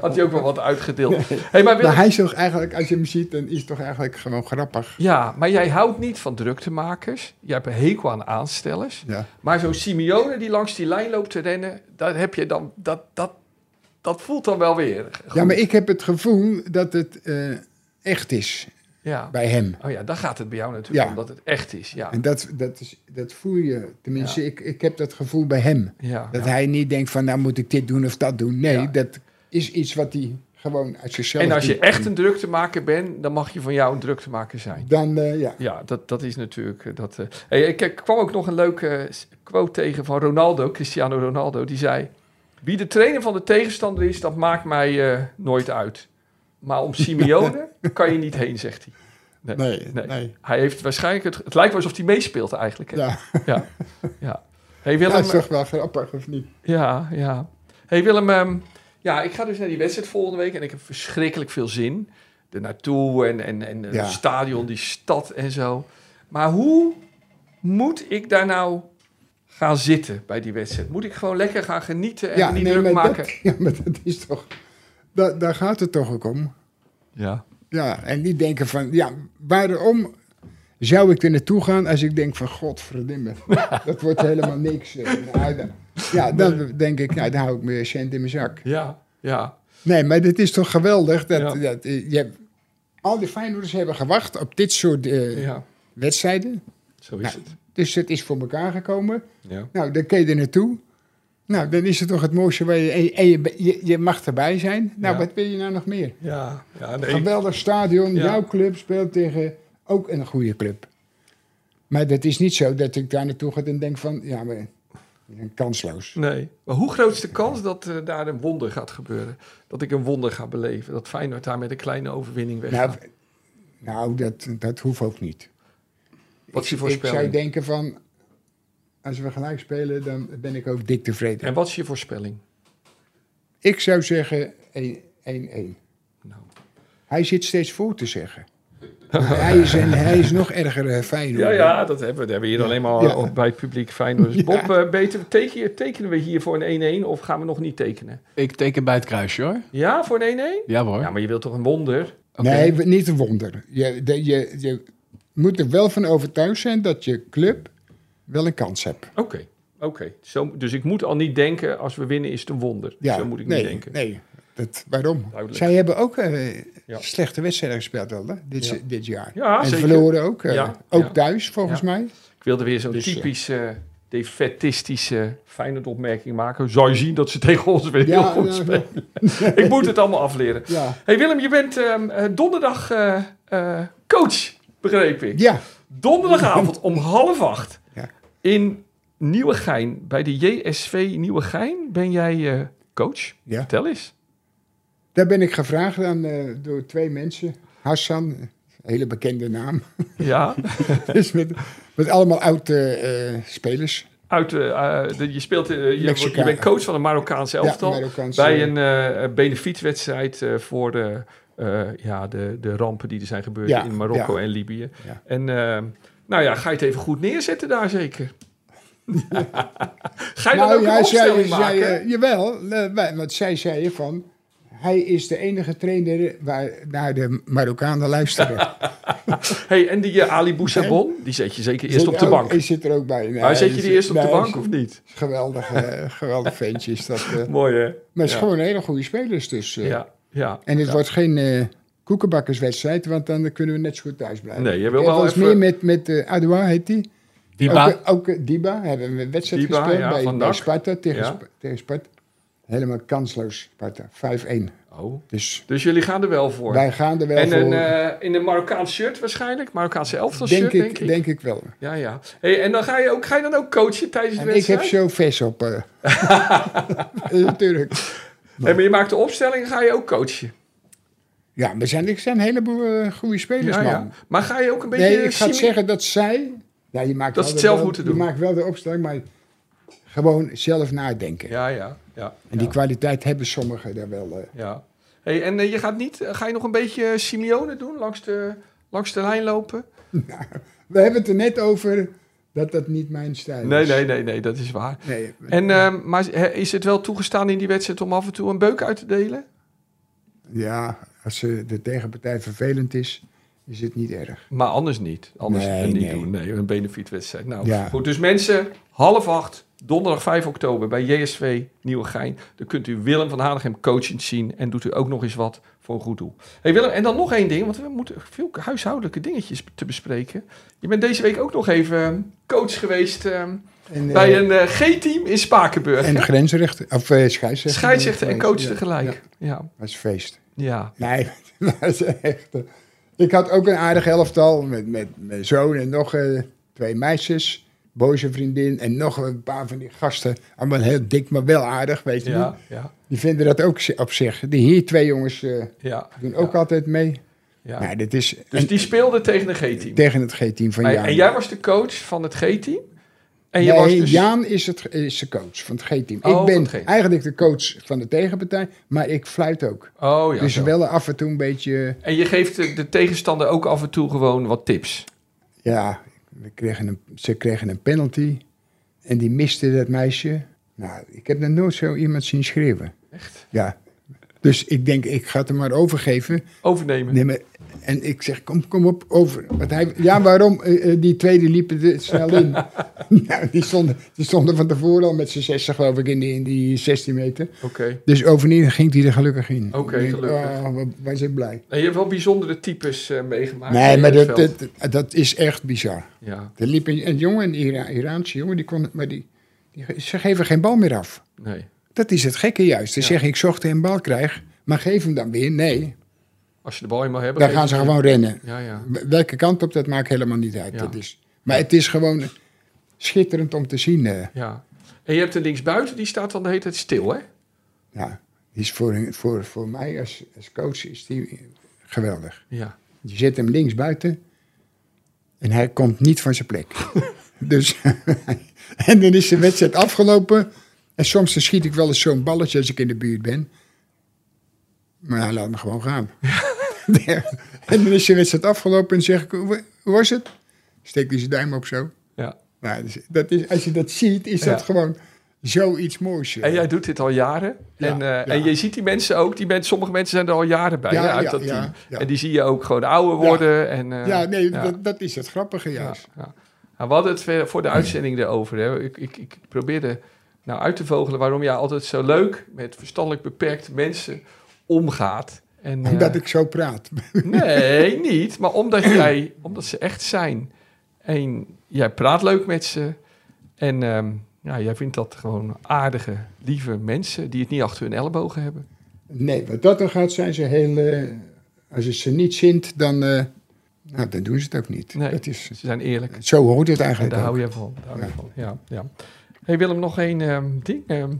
[SPEAKER 3] had hij ook wel wat uitgedeeld. Hey, maar Willem-
[SPEAKER 2] Maar Nou, hij is toch eigenlijk, als je hem ziet, dan is het toch eigenlijk gewoon grappig.
[SPEAKER 3] Ja, maar jij houdt niet van druktemakers. Jij hebt een hekel aan aanstellers.
[SPEAKER 2] Ja.
[SPEAKER 3] Maar zo'n Simeone die langs die lijn loopt te rennen, daar heb je dan, dat, dat, dat voelt dan wel weer.
[SPEAKER 2] ja, maar ik heb het gevoel dat het eh, echt is
[SPEAKER 3] Ja.
[SPEAKER 2] bij hem.
[SPEAKER 3] Oh ja, dan gaat het bij jou natuurlijk
[SPEAKER 2] Ja.
[SPEAKER 3] omdat het echt is. Ja.
[SPEAKER 2] En dat, dat, is, dat voel je, tenminste, ik, ik heb dat gevoel bij hem.
[SPEAKER 3] Ja.
[SPEAKER 2] Dat hij niet denkt van, nou moet ik dit doen of dat doen. Nee,
[SPEAKER 3] Ja.
[SPEAKER 2] dat is iets wat hij gewoon uit zichzelf
[SPEAKER 3] En als je
[SPEAKER 2] doet.
[SPEAKER 3] echt een druktemaker bent, dan mag je van jou een druktemaker zijn.
[SPEAKER 2] Dan, eh, ja.
[SPEAKER 3] Ja, dat, dat is natuurlijk. eh, Dat, eh. Hey, ik eh, kwam ook nog een leuke eh, quote tegen van Ronaldo, Cristiano Ronaldo. Die zei: Wie de trainer van de tegenstander is, dat maakt mij eh, nooit uit. Maar om Simeone kan je niet heen, zegt hij.
[SPEAKER 2] Nee, nee.
[SPEAKER 3] Hij heeft waarschijnlijk. Het, het lijkt wel alsof hij meespeelt eigenlijk. Hè?
[SPEAKER 2] Ja.
[SPEAKER 3] ja. ja. Hey,
[SPEAKER 2] Ja,
[SPEAKER 3] Willem,
[SPEAKER 2] dat is toch wel grappig, of niet?
[SPEAKER 3] ja, ja. hey Willem, ehm, ja, ik ga dus naar die wedstrijd volgende week en ik heb verschrikkelijk veel zin. Er naartoe en, en, en het
[SPEAKER 2] Ja.
[SPEAKER 3] stadion, die stad en zo. Maar hoe moet ik daar nou gaan zitten bij die wedstrijd? Moet ik gewoon lekker gaan genieten en me niet druk
[SPEAKER 2] maar
[SPEAKER 3] maken?
[SPEAKER 2] dat, ja, maar dat is toch... Da, daar gaat het toch ook om.
[SPEAKER 3] Ja.
[SPEAKER 2] Ja, en niet denken van, ja, waarom zou ik er naartoe gaan als ik denk van, godverdimme, dat wordt helemaal niks. eh, nou, dan- ja, dan denk ik, nou, dan hou ik mijn cent in mijn zak.
[SPEAKER 3] Ja, ja.
[SPEAKER 2] Nee, maar dit is toch geweldig dat,
[SPEAKER 3] Ja.
[SPEAKER 2] dat eh, je hebt- al die Feyenoorders hebben gewacht op dit soort eh,
[SPEAKER 3] Ja,
[SPEAKER 2] wedstrijden.
[SPEAKER 3] zo is
[SPEAKER 2] Nou,
[SPEAKER 3] het.
[SPEAKER 2] Dus het is voor elkaar gekomen.
[SPEAKER 3] Ja.
[SPEAKER 2] Nou, dan kun je er naartoe. Nou, dan is het toch het mooiste waar je... En, en je, je, je mag erbij zijn. Nou,
[SPEAKER 3] Ja.
[SPEAKER 2] wat wil je nou nog meer?
[SPEAKER 3] Ja, ja nee.
[SPEAKER 2] Geweldig stadion.
[SPEAKER 3] Ja.
[SPEAKER 2] Jouw club speelt tegen ook een goede club. Maar dat is niet zo dat ik daar naartoe ga en denk van... Ja, maar ik ben kansloos.
[SPEAKER 3] Nee. Maar hoe groot is de kans dat eh, daar een wonder gaat gebeuren? Dat ik een wonder ga beleven? Dat Feyenoord daar met een kleine overwinning weggaat?
[SPEAKER 2] Nou, nou dat, dat hoeft ook niet.
[SPEAKER 3] Wat is je
[SPEAKER 2] Ik
[SPEAKER 3] voorspelling?
[SPEAKER 2] zou denken van... Als we gelijk spelen, dan ben ik ook dik tevreden.
[SPEAKER 3] En wat is je voorspelling?
[SPEAKER 2] Ik zou zeggen 1-1.
[SPEAKER 3] Nou.
[SPEAKER 2] Hij zit steeds voor te zeggen. hij, is een, hij is nog erger eh, Feyenoord.
[SPEAKER 3] Ja, ja, dat hebben we, dat hebben we hier alleen maar
[SPEAKER 2] Ja.
[SPEAKER 3] op, bij het publiek Feyenoord.
[SPEAKER 2] Ja.
[SPEAKER 3] Bob, eh, beter, teken- tekenen we hier voor een 1-1 of gaan we nog niet tekenen?
[SPEAKER 5] Ik teken bij het kruisje hoor.
[SPEAKER 3] Ja, voor een 1-1?
[SPEAKER 5] Ja hoor.
[SPEAKER 3] Ja, maar je wilt toch een wonder?
[SPEAKER 2] Nee, we- niet een wonder. Je, de- je, je moet er wel van overtuigd zijn dat je club wel een kans hebt.
[SPEAKER 3] Oké, oké. Zo- Dus ik moet al niet denken, als we winnen is het een wonder. Zo moet ik
[SPEAKER 2] nee,
[SPEAKER 3] niet denken.
[SPEAKER 2] Nee, dat, waarom?
[SPEAKER 3] Duidelijk.
[SPEAKER 2] Zij hebben ook eh,
[SPEAKER 3] Ja.
[SPEAKER 2] slechte wedstrijden gespeeld wel, hè, dit,
[SPEAKER 3] Ja.
[SPEAKER 2] dit jaar.
[SPEAKER 3] Ja,
[SPEAKER 2] en
[SPEAKER 3] zeker.
[SPEAKER 2] verloren ook. eh,
[SPEAKER 3] Ja,
[SPEAKER 2] Ook
[SPEAKER 3] ja.
[SPEAKER 2] thuis, volgens
[SPEAKER 3] Ja.
[SPEAKER 2] mij.
[SPEAKER 3] Ik wilde weer zo'n
[SPEAKER 2] Dus, ja.
[SPEAKER 3] typische, defetistische Feyenoord opmerking maken. Zou je zien dat ze tegen ons weer heel
[SPEAKER 2] Ja,
[SPEAKER 3] goed
[SPEAKER 2] ja, ja.
[SPEAKER 3] spelen? ik moet het allemaal afleren.
[SPEAKER 2] Ja.
[SPEAKER 3] hey Willem, je bent ehm, eh, donderdag eh, eh, coach, begreep ik.
[SPEAKER 2] ja,
[SPEAKER 3] Donderdagavond om half acht
[SPEAKER 2] Ja.
[SPEAKER 3] in Nieuwegein, bij de JSV Nieuwegein, ben jij eh, coach.
[SPEAKER 2] Ja.
[SPEAKER 3] Vertel eens.
[SPEAKER 2] daar ben ik gevraagd aan eh, door twee mensen. Hassan, een hele bekende naam.
[SPEAKER 3] Ja,
[SPEAKER 2] Dus met, met allemaal eh, oud-spelers.
[SPEAKER 3] uit, eh, eh, de- je, speelt, eh, je, wordt- je
[SPEAKER 2] Mexicaan.
[SPEAKER 3] bent coach van een Marokkaanse elftal.
[SPEAKER 2] Marokkaanse-
[SPEAKER 3] bij een eh benefietwedstrijd eh, voor de, eh, ja, de, de rampen die er zijn gebeurd
[SPEAKER 2] Ja,
[SPEAKER 3] in Marokko
[SPEAKER 2] ja.
[SPEAKER 3] en Libië.
[SPEAKER 2] Ja.
[SPEAKER 3] En eh, nou ja, ga je het even goed neerzetten daar zeker? ga je
[SPEAKER 2] Nou
[SPEAKER 3] dan ook een opstelling maken?
[SPEAKER 2] eh, jawel, eh, wij- want zij zeiden van... Hij is de enige trainer waar naar de Marokkanen luisteren.
[SPEAKER 3] Hey, en die eh, Ali Boussabon, die zet je zeker eerst
[SPEAKER 2] Zit
[SPEAKER 3] op de
[SPEAKER 2] ook-
[SPEAKER 3] bank.
[SPEAKER 2] Hij zit er ook bij. Nee,
[SPEAKER 3] Maar zet
[SPEAKER 2] hij
[SPEAKER 3] je die
[SPEAKER 2] zit-
[SPEAKER 3] eerst op de
[SPEAKER 2] dus nee,
[SPEAKER 3] bank
[SPEAKER 2] hij
[SPEAKER 3] of
[SPEAKER 2] is
[SPEAKER 3] niet?
[SPEAKER 2] een Geweldig, eh, geweldig ventje is dat. eh.
[SPEAKER 3] Mooi hè?
[SPEAKER 2] maar het
[SPEAKER 3] Ja.
[SPEAKER 2] is gewoon een hele goede spelers dus. eh.
[SPEAKER 3] Ja, ja.
[SPEAKER 2] En het wordt geen eh, koekenbakkerswedstrijd, want dan kunnen we net zo goed thuis blijven.
[SPEAKER 3] Nee, je
[SPEAKER 2] Ik
[SPEAKER 3] wil
[SPEAKER 2] heb
[SPEAKER 3] wel
[SPEAKER 2] eens
[SPEAKER 3] even...
[SPEAKER 2] meer met, met eh, Adoua, heet die.
[SPEAKER 5] Die
[SPEAKER 2] Ook,
[SPEAKER 5] baan-
[SPEAKER 2] eh, ook eh, Diba hebben we een wedstrijd
[SPEAKER 3] Diba,
[SPEAKER 2] gespeeld
[SPEAKER 3] ja,
[SPEAKER 2] bij,
[SPEAKER 3] van
[SPEAKER 2] bij
[SPEAKER 3] NAC.
[SPEAKER 2] Sparta tegen,
[SPEAKER 3] Ja.
[SPEAKER 2] Sp- tegen Sparta. Helemaal kansloos, Sparta. 5-1.
[SPEAKER 5] Oh.
[SPEAKER 2] Dus
[SPEAKER 3] Dus jullie gaan er wel voor.
[SPEAKER 2] wij gaan er wel
[SPEAKER 3] en
[SPEAKER 2] voor.
[SPEAKER 3] een, eh, in een Marokkaans shirt waarschijnlijk. Marokkaanse elftal
[SPEAKER 2] denk,
[SPEAKER 3] shirt,
[SPEAKER 2] ik,
[SPEAKER 3] denk ik.
[SPEAKER 2] denk ik wel.
[SPEAKER 3] Ja, ja. Hey, en dan ga je, ook, ga je dan ook coachen tijdens de
[SPEAKER 2] En ik heb
[SPEAKER 3] wedstrijd?
[SPEAKER 2] zo vers op. eh. Natuurlijk.
[SPEAKER 3] Hey, maar je maakt de opstelling, ga je ook coachen?
[SPEAKER 2] Ja, maar er zijn, er zijn een heleboel eh, goede spelers,
[SPEAKER 3] Ja,
[SPEAKER 2] man.
[SPEAKER 3] ja. Maar ga je ook een beetje...
[SPEAKER 2] Nee, ik ga het
[SPEAKER 3] simi-
[SPEAKER 2] zeggen dat zij... Ja, je maakt wel
[SPEAKER 3] Dat ze
[SPEAKER 2] de-
[SPEAKER 3] het zelf
[SPEAKER 2] wel-
[SPEAKER 3] moeten
[SPEAKER 2] Je
[SPEAKER 3] doen.
[SPEAKER 2] maakt wel de opstelling, maar gewoon zelf nadenken.
[SPEAKER 3] Ja, ja, ja.
[SPEAKER 2] En die kwaliteit hebben sommigen daar wel. eh.
[SPEAKER 3] ja. Hey, en eh, je gaat niet, ga je nog een beetje Simeone doen? Langs de, langs de lijn lopen?
[SPEAKER 2] We hebben het er net over dat dat niet mijn stijl
[SPEAKER 3] Nee,
[SPEAKER 2] is.
[SPEAKER 3] nee, nee, nee, dat is waar.
[SPEAKER 2] nee.
[SPEAKER 3] En, ehm, maar is- hè, is het wel toegestaan in die wedstrijd om af en toe een beuk uit te delen?
[SPEAKER 2] Ja, als eh, de tegenpartij vervelend is, is het niet erg.
[SPEAKER 3] Maar anders niet. Anders
[SPEAKER 2] Nee,
[SPEAKER 3] niet
[SPEAKER 2] nee.
[SPEAKER 3] doen. Nee, een benefietwedstrijd. Nou,
[SPEAKER 2] Ja.
[SPEAKER 3] goed. Dus mensen, half acht, donderdag 5 oktober bij JSV Nieuwegein. Dan kunt u Willem van Hanegem coachend zien. En doet u ook nog eens wat voor een goed doel. hey Willem, en dan nog één ding. Want we moeten veel huishoudelijke dingetjes te bespreken. Je bent deze week ook nog even ehm, coach geweest ehm,
[SPEAKER 2] En, eh,
[SPEAKER 3] bij een eh, G-team in Spakenburg.
[SPEAKER 2] en grensrechter, of eh, scheidsrechter.
[SPEAKER 3] Scheidsrechter en coach
[SPEAKER 2] Ja,
[SPEAKER 3] tegelijk.
[SPEAKER 2] ja,
[SPEAKER 3] Ja,
[SPEAKER 2] dat is feest.
[SPEAKER 3] ja.
[SPEAKER 2] Nee, maar het is echt. eh, Ik had ook een aardig elftal met, met mijn zoon en nog eh, twee meisjes, boze vriendin en nog een paar van die gasten. Allemaal heel dik, maar wel aardig, weet je
[SPEAKER 3] Ja,
[SPEAKER 2] niet.
[SPEAKER 3] ja,
[SPEAKER 2] Die vinden dat ook zi- op zich. Die hier twee jongens eh,
[SPEAKER 3] ja.
[SPEAKER 2] doen ook altijd mee.
[SPEAKER 3] ja.
[SPEAKER 2] Nou, dit is
[SPEAKER 3] Dus
[SPEAKER 2] en-
[SPEAKER 3] die speelde tegen een G-team.
[SPEAKER 2] tegen het G-team van
[SPEAKER 3] Maar-
[SPEAKER 2] Jaan.
[SPEAKER 3] En jij was de coach van het G-team? En je
[SPEAKER 2] nee,
[SPEAKER 3] was dus...
[SPEAKER 2] Jaan is, het, is de coach van het G-team.
[SPEAKER 3] Oh,
[SPEAKER 2] ik
[SPEAKER 3] van het
[SPEAKER 2] ben
[SPEAKER 3] G-team.
[SPEAKER 2] eigenlijk de coach van de tegenpartij, maar ik fluit ook.
[SPEAKER 3] Oh ja.
[SPEAKER 2] dus
[SPEAKER 3] zo.
[SPEAKER 2] wel af en toe een beetje...
[SPEAKER 3] En je geeft de, de tegenstander ook af en toe gewoon wat tips.
[SPEAKER 2] Ja, we kregen een, ze kregen een penalty. En die miste dat meisje. Nou, ik heb nog nooit zo iemand zien schreeuwen.
[SPEAKER 3] Echt?
[SPEAKER 2] Ja. Dus ik denk, ik ga het hem maar overgeven.
[SPEAKER 3] Overnemen.
[SPEAKER 2] Nee, maar, en ik zeg, kom, kom op, over. Want hij, ja, waarom? Eh, eh, die tweede liepen er snel in. nou, die stonden, die stonden van tevoren al met z'n zessen, geloof ik, in die, in die 16 meter.
[SPEAKER 3] Oké.
[SPEAKER 2] Dus overnieuw ging hij er gelukkig in.
[SPEAKER 3] Oké,
[SPEAKER 2] Ik denk,
[SPEAKER 3] gelukkig.
[SPEAKER 2] Oh, wat was ik blij.
[SPEAKER 3] En je hebt wel bijzondere types eh, meegemaakt.
[SPEAKER 2] nee,
[SPEAKER 3] in
[SPEAKER 2] maar
[SPEAKER 3] het
[SPEAKER 2] dat,
[SPEAKER 3] veld.
[SPEAKER 2] dat, dat is echt bizar.
[SPEAKER 3] Ja,
[SPEAKER 2] Er liep een, een jongen, een Ira- Iraanse jongen, die kon, maar die, die, ge- ze geven geen bal meer af.
[SPEAKER 3] nee.
[SPEAKER 2] Dat is het gekke juist. Ze
[SPEAKER 3] Ja.
[SPEAKER 2] zeggen, ik zocht een bal krijg, maar geef hem dan weer. Nee,
[SPEAKER 3] Als je de bal eenmaal hebt...
[SPEAKER 2] dan
[SPEAKER 3] geef
[SPEAKER 2] gaan ze
[SPEAKER 3] je-
[SPEAKER 2] gewoon rennen.
[SPEAKER 3] Ja, ja.
[SPEAKER 2] Welke kant op, dat maakt helemaal niet uit.
[SPEAKER 3] Ja.
[SPEAKER 2] Dat is, maar het is gewoon schitterend om te zien. eh.
[SPEAKER 3] ja. En je hebt een linksbuiten, die staat dan de hele tijd stil, hè?
[SPEAKER 2] ja, die Nou, is voor, voor, voor mij als, als coach is die geweldig.
[SPEAKER 3] Ja.
[SPEAKER 2] Je zet hem links buiten en hij komt niet van zijn plek. dus, en dan is de wedstrijd afgelopen. En soms dan schiet ik wel eens zo'n balletje als ik in de buurt ben. Maar hij laat me gewoon gaan. en dan is de wedstrijd afgelopen en zeg ik, hoe hoe was het? Steekt hij zijn duim op zo.
[SPEAKER 3] ja.
[SPEAKER 2] Nou, dus dat is, als je dat ziet, is dat
[SPEAKER 3] Ja.
[SPEAKER 2] gewoon zoiets moois. eh. joh.
[SPEAKER 3] En jij doet dit al jaren.
[SPEAKER 2] Ja,
[SPEAKER 3] en, eh,
[SPEAKER 2] ja.
[SPEAKER 3] en je ziet die mensen ook. Die men, sommige mensen zijn er al jaren bij
[SPEAKER 2] Ja,
[SPEAKER 3] hè, uit
[SPEAKER 2] ja,
[SPEAKER 3] dat
[SPEAKER 2] ja,
[SPEAKER 3] team.
[SPEAKER 2] ja.
[SPEAKER 3] En die zie je ook gewoon ouder worden. En, eh,
[SPEAKER 2] ja, nee,
[SPEAKER 3] ja.
[SPEAKER 2] Dat, dat is het grappige
[SPEAKER 3] Ja,
[SPEAKER 2] juist.
[SPEAKER 3] ja. Nou, we hadden het ver- voor de uitzending erover. Hè. Ik, ik, ik probeerde nou uit te vogelen waarom jij altijd zo leuk met verstandelijk beperkte mensen omgaat. En, eh,
[SPEAKER 2] Omdat ik zo praat.
[SPEAKER 3] Nee, niet. Maar omdat, jij, omdat ze echt zijn. En jij praat leuk met ze. En ehm, ja, jij vindt dat gewoon aardige, lieve mensen die het niet achter hun ellebogen hebben.
[SPEAKER 2] Nee, wat dat dan gaat, zijn ze heel. eh, als het ze niet zint, dan, eh, nou, dan doen ze het ook niet.
[SPEAKER 3] Nee.
[SPEAKER 2] Dat is, eh,
[SPEAKER 3] Ze zijn eerlijk.
[SPEAKER 2] zo hoort het
[SPEAKER 3] En
[SPEAKER 2] eigenlijk.
[SPEAKER 3] daar hou
[SPEAKER 2] ook.
[SPEAKER 3] je van. Daar hou je van. Ja, ja. Hey Willem, nog één ehm, ding. ehm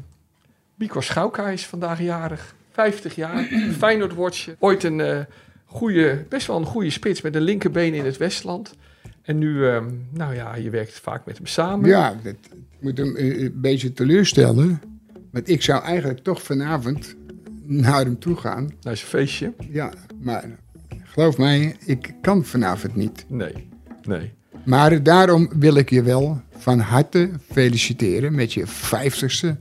[SPEAKER 3] Bico Schouka is vandaag jarig. 50 jaar. Feyenoord watje. Ooit een eh, goede, best wel een goede spits met een linkerbeen in het Westland. En nu, ehm, nou ja, je werkt vaak met hem samen.
[SPEAKER 2] Ja, dat moet hem eh, een beetje teleurstellen. Want ik zou eigenlijk toch vanavond naar hem toe gaan.
[SPEAKER 3] Dat is een feestje.
[SPEAKER 2] Ja, maar geloof mij, ik kan vanavond niet.
[SPEAKER 3] Nee, nee.
[SPEAKER 2] Maar daarom wil ik je wel van harte feliciteren met je 50ste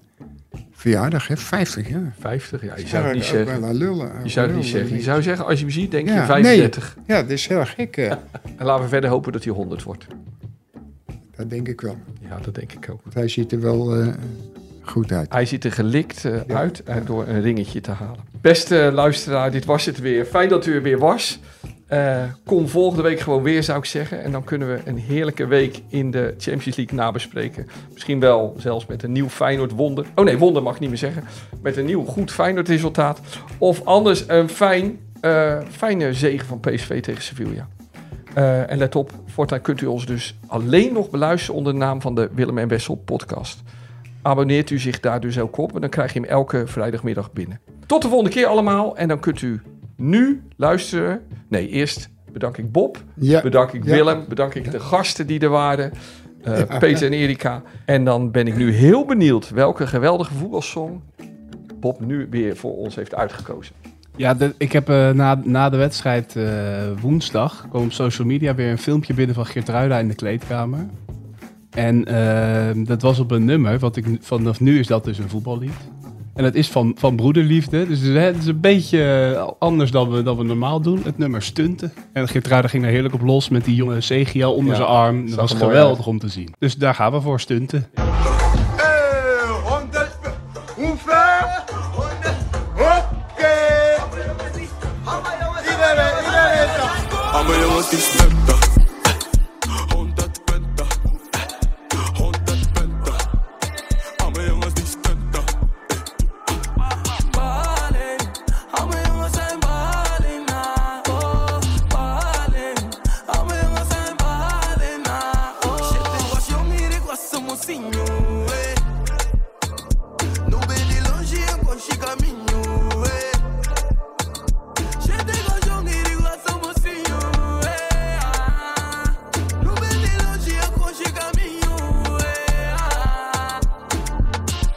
[SPEAKER 2] verjaardag. Hè? 50 jaar.
[SPEAKER 3] 50 jaar. Je zou het
[SPEAKER 2] Eigenlijk
[SPEAKER 3] niet zeggen.
[SPEAKER 2] ook wel aan lullen.
[SPEAKER 3] Je zou het
[SPEAKER 2] Lullen.
[SPEAKER 3] niet zeggen. Je zou zeggen, als je hem ziet, denk je
[SPEAKER 2] Ja,
[SPEAKER 3] 35.
[SPEAKER 2] Nee. Ja, dat is heel gek. eh.
[SPEAKER 3] En laten we verder hopen dat hij 100 wordt.
[SPEAKER 2] Dat denk ik wel.
[SPEAKER 3] Ja, dat denk ik ook.
[SPEAKER 2] Want hij ziet er wel eh, goed uit.
[SPEAKER 3] Hij ziet er gelikt eh, uit eh, door een ringetje te halen. Beste luisteraar, dit was het weer. Fijn dat u er weer was. Eh, kom volgende week gewoon weer, zou ik zeggen. En dan kunnen we een heerlijke week in de Champions League nabespreken. Misschien wel zelfs met een nieuw Feyenoord-wonder. Oh nee, wonder mag ik niet meer zeggen. Met een nieuw goed Feyenoord-resultaat. Of anders een fijn, eh, fijne zege van PSV tegen Sevilla. Eh, en let op, voortaan kunt u ons dus alleen nog beluisteren onder de naam van de Willem en Wessel podcast. Abonneert u zich daar dus ook op en dan krijg je hem elke vrijdagmiddag binnen. Tot de volgende keer allemaal en dan kunt u nu luisteren. Nee, eerst bedank ik Bob,
[SPEAKER 2] Ja.
[SPEAKER 3] bedank ik
[SPEAKER 2] Ja.
[SPEAKER 3] Willem, bedank ik de gasten die er waren, eh, Peter en Erika. En dan ben ik nu heel benieuwd welke geweldige voetbalsong Bob nu weer voor ons heeft uitgekozen.
[SPEAKER 5] Ja, de- ik heb eh, na, na de wedstrijd eh, woensdag kwam op social media weer een filmpje binnen van Geert Ruida in de kleedkamer. En eh, dat was op een nummer, wat ik nu- vanaf nu is dat dus een voetballied. En dat is van, van broederliefde, dus het is- het is een beetje eh, anders dan we, dan we normaal doen. Het nummer stunten. En Geert Ruida ging daar heerlijk op los met die jonge Segiel onder
[SPEAKER 3] Ja,
[SPEAKER 5] zijn arm. Dat
[SPEAKER 3] zag
[SPEAKER 5] was
[SPEAKER 3] er mooi
[SPEAKER 5] geweldig om te zien. Dus daar gaan we voor, stunten.
[SPEAKER 8] Allemaal jongens die stunten. 100 punten. 100 punten. Allemaal jongens die stunten. Baling. Allemaal jongens zijn baling. ah, Oh, baling. Allemaal jongens zijn baling. ah, Oh, shit, ik was jong hier, ik was een mocinho. eh. Nu ben ik longe, ik was caminho. eh. Chega com João Guiri, lá sou mocinho. eh, ah. No meio de longe eu conche caminho. eh,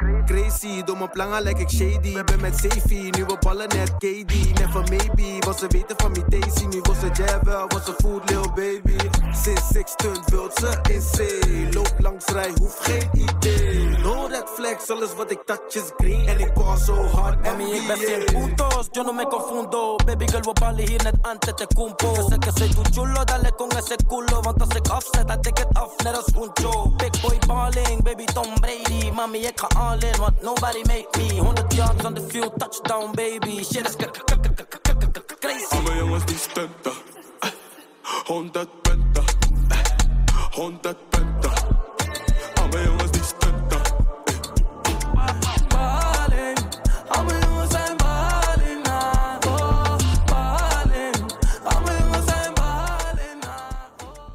[SPEAKER 8] ah.
[SPEAKER 9] Crazy, door mijn plannen lijk ik shady. Ben met safety, nieuwe ballen net KD. Never maybe, wat ze weten van mijn Daisy. Nu was ze jabber, was ze food, lil baby. Sinds ik stunt, wilt ze in zee. Loop langs rij, hoef geen idee. No red flags, alles wat ik touch is green. En ik call zo hard,
[SPEAKER 8] A mí
[SPEAKER 9] NBA.
[SPEAKER 8] me cien puntos, yo no me confundo. Baby girl, we'll probably hit it antes te cumpo. Yo sé que soy tu chulo, dale con ese culo. Want als ik afzet, I take it off, net als Huncho. Big boy balling, baby Tom Brady. Mami, ik ga all in, want nobody made me. 100 yards on the field, touchdown, baby. Shit is k- k- k- k- k- k- k- k- crazy.
[SPEAKER 9] Allemaal jongens die stunten.
[SPEAKER 8] Eh,
[SPEAKER 9] 100 punten.
[SPEAKER 8] Eh,
[SPEAKER 9] 100 punten. Allemaal jongens die stunten.
[SPEAKER 8] Balling, allemaal jongens zijn balling, ah, oh. Balling, allemaal jongens zijn balling, ah, oh.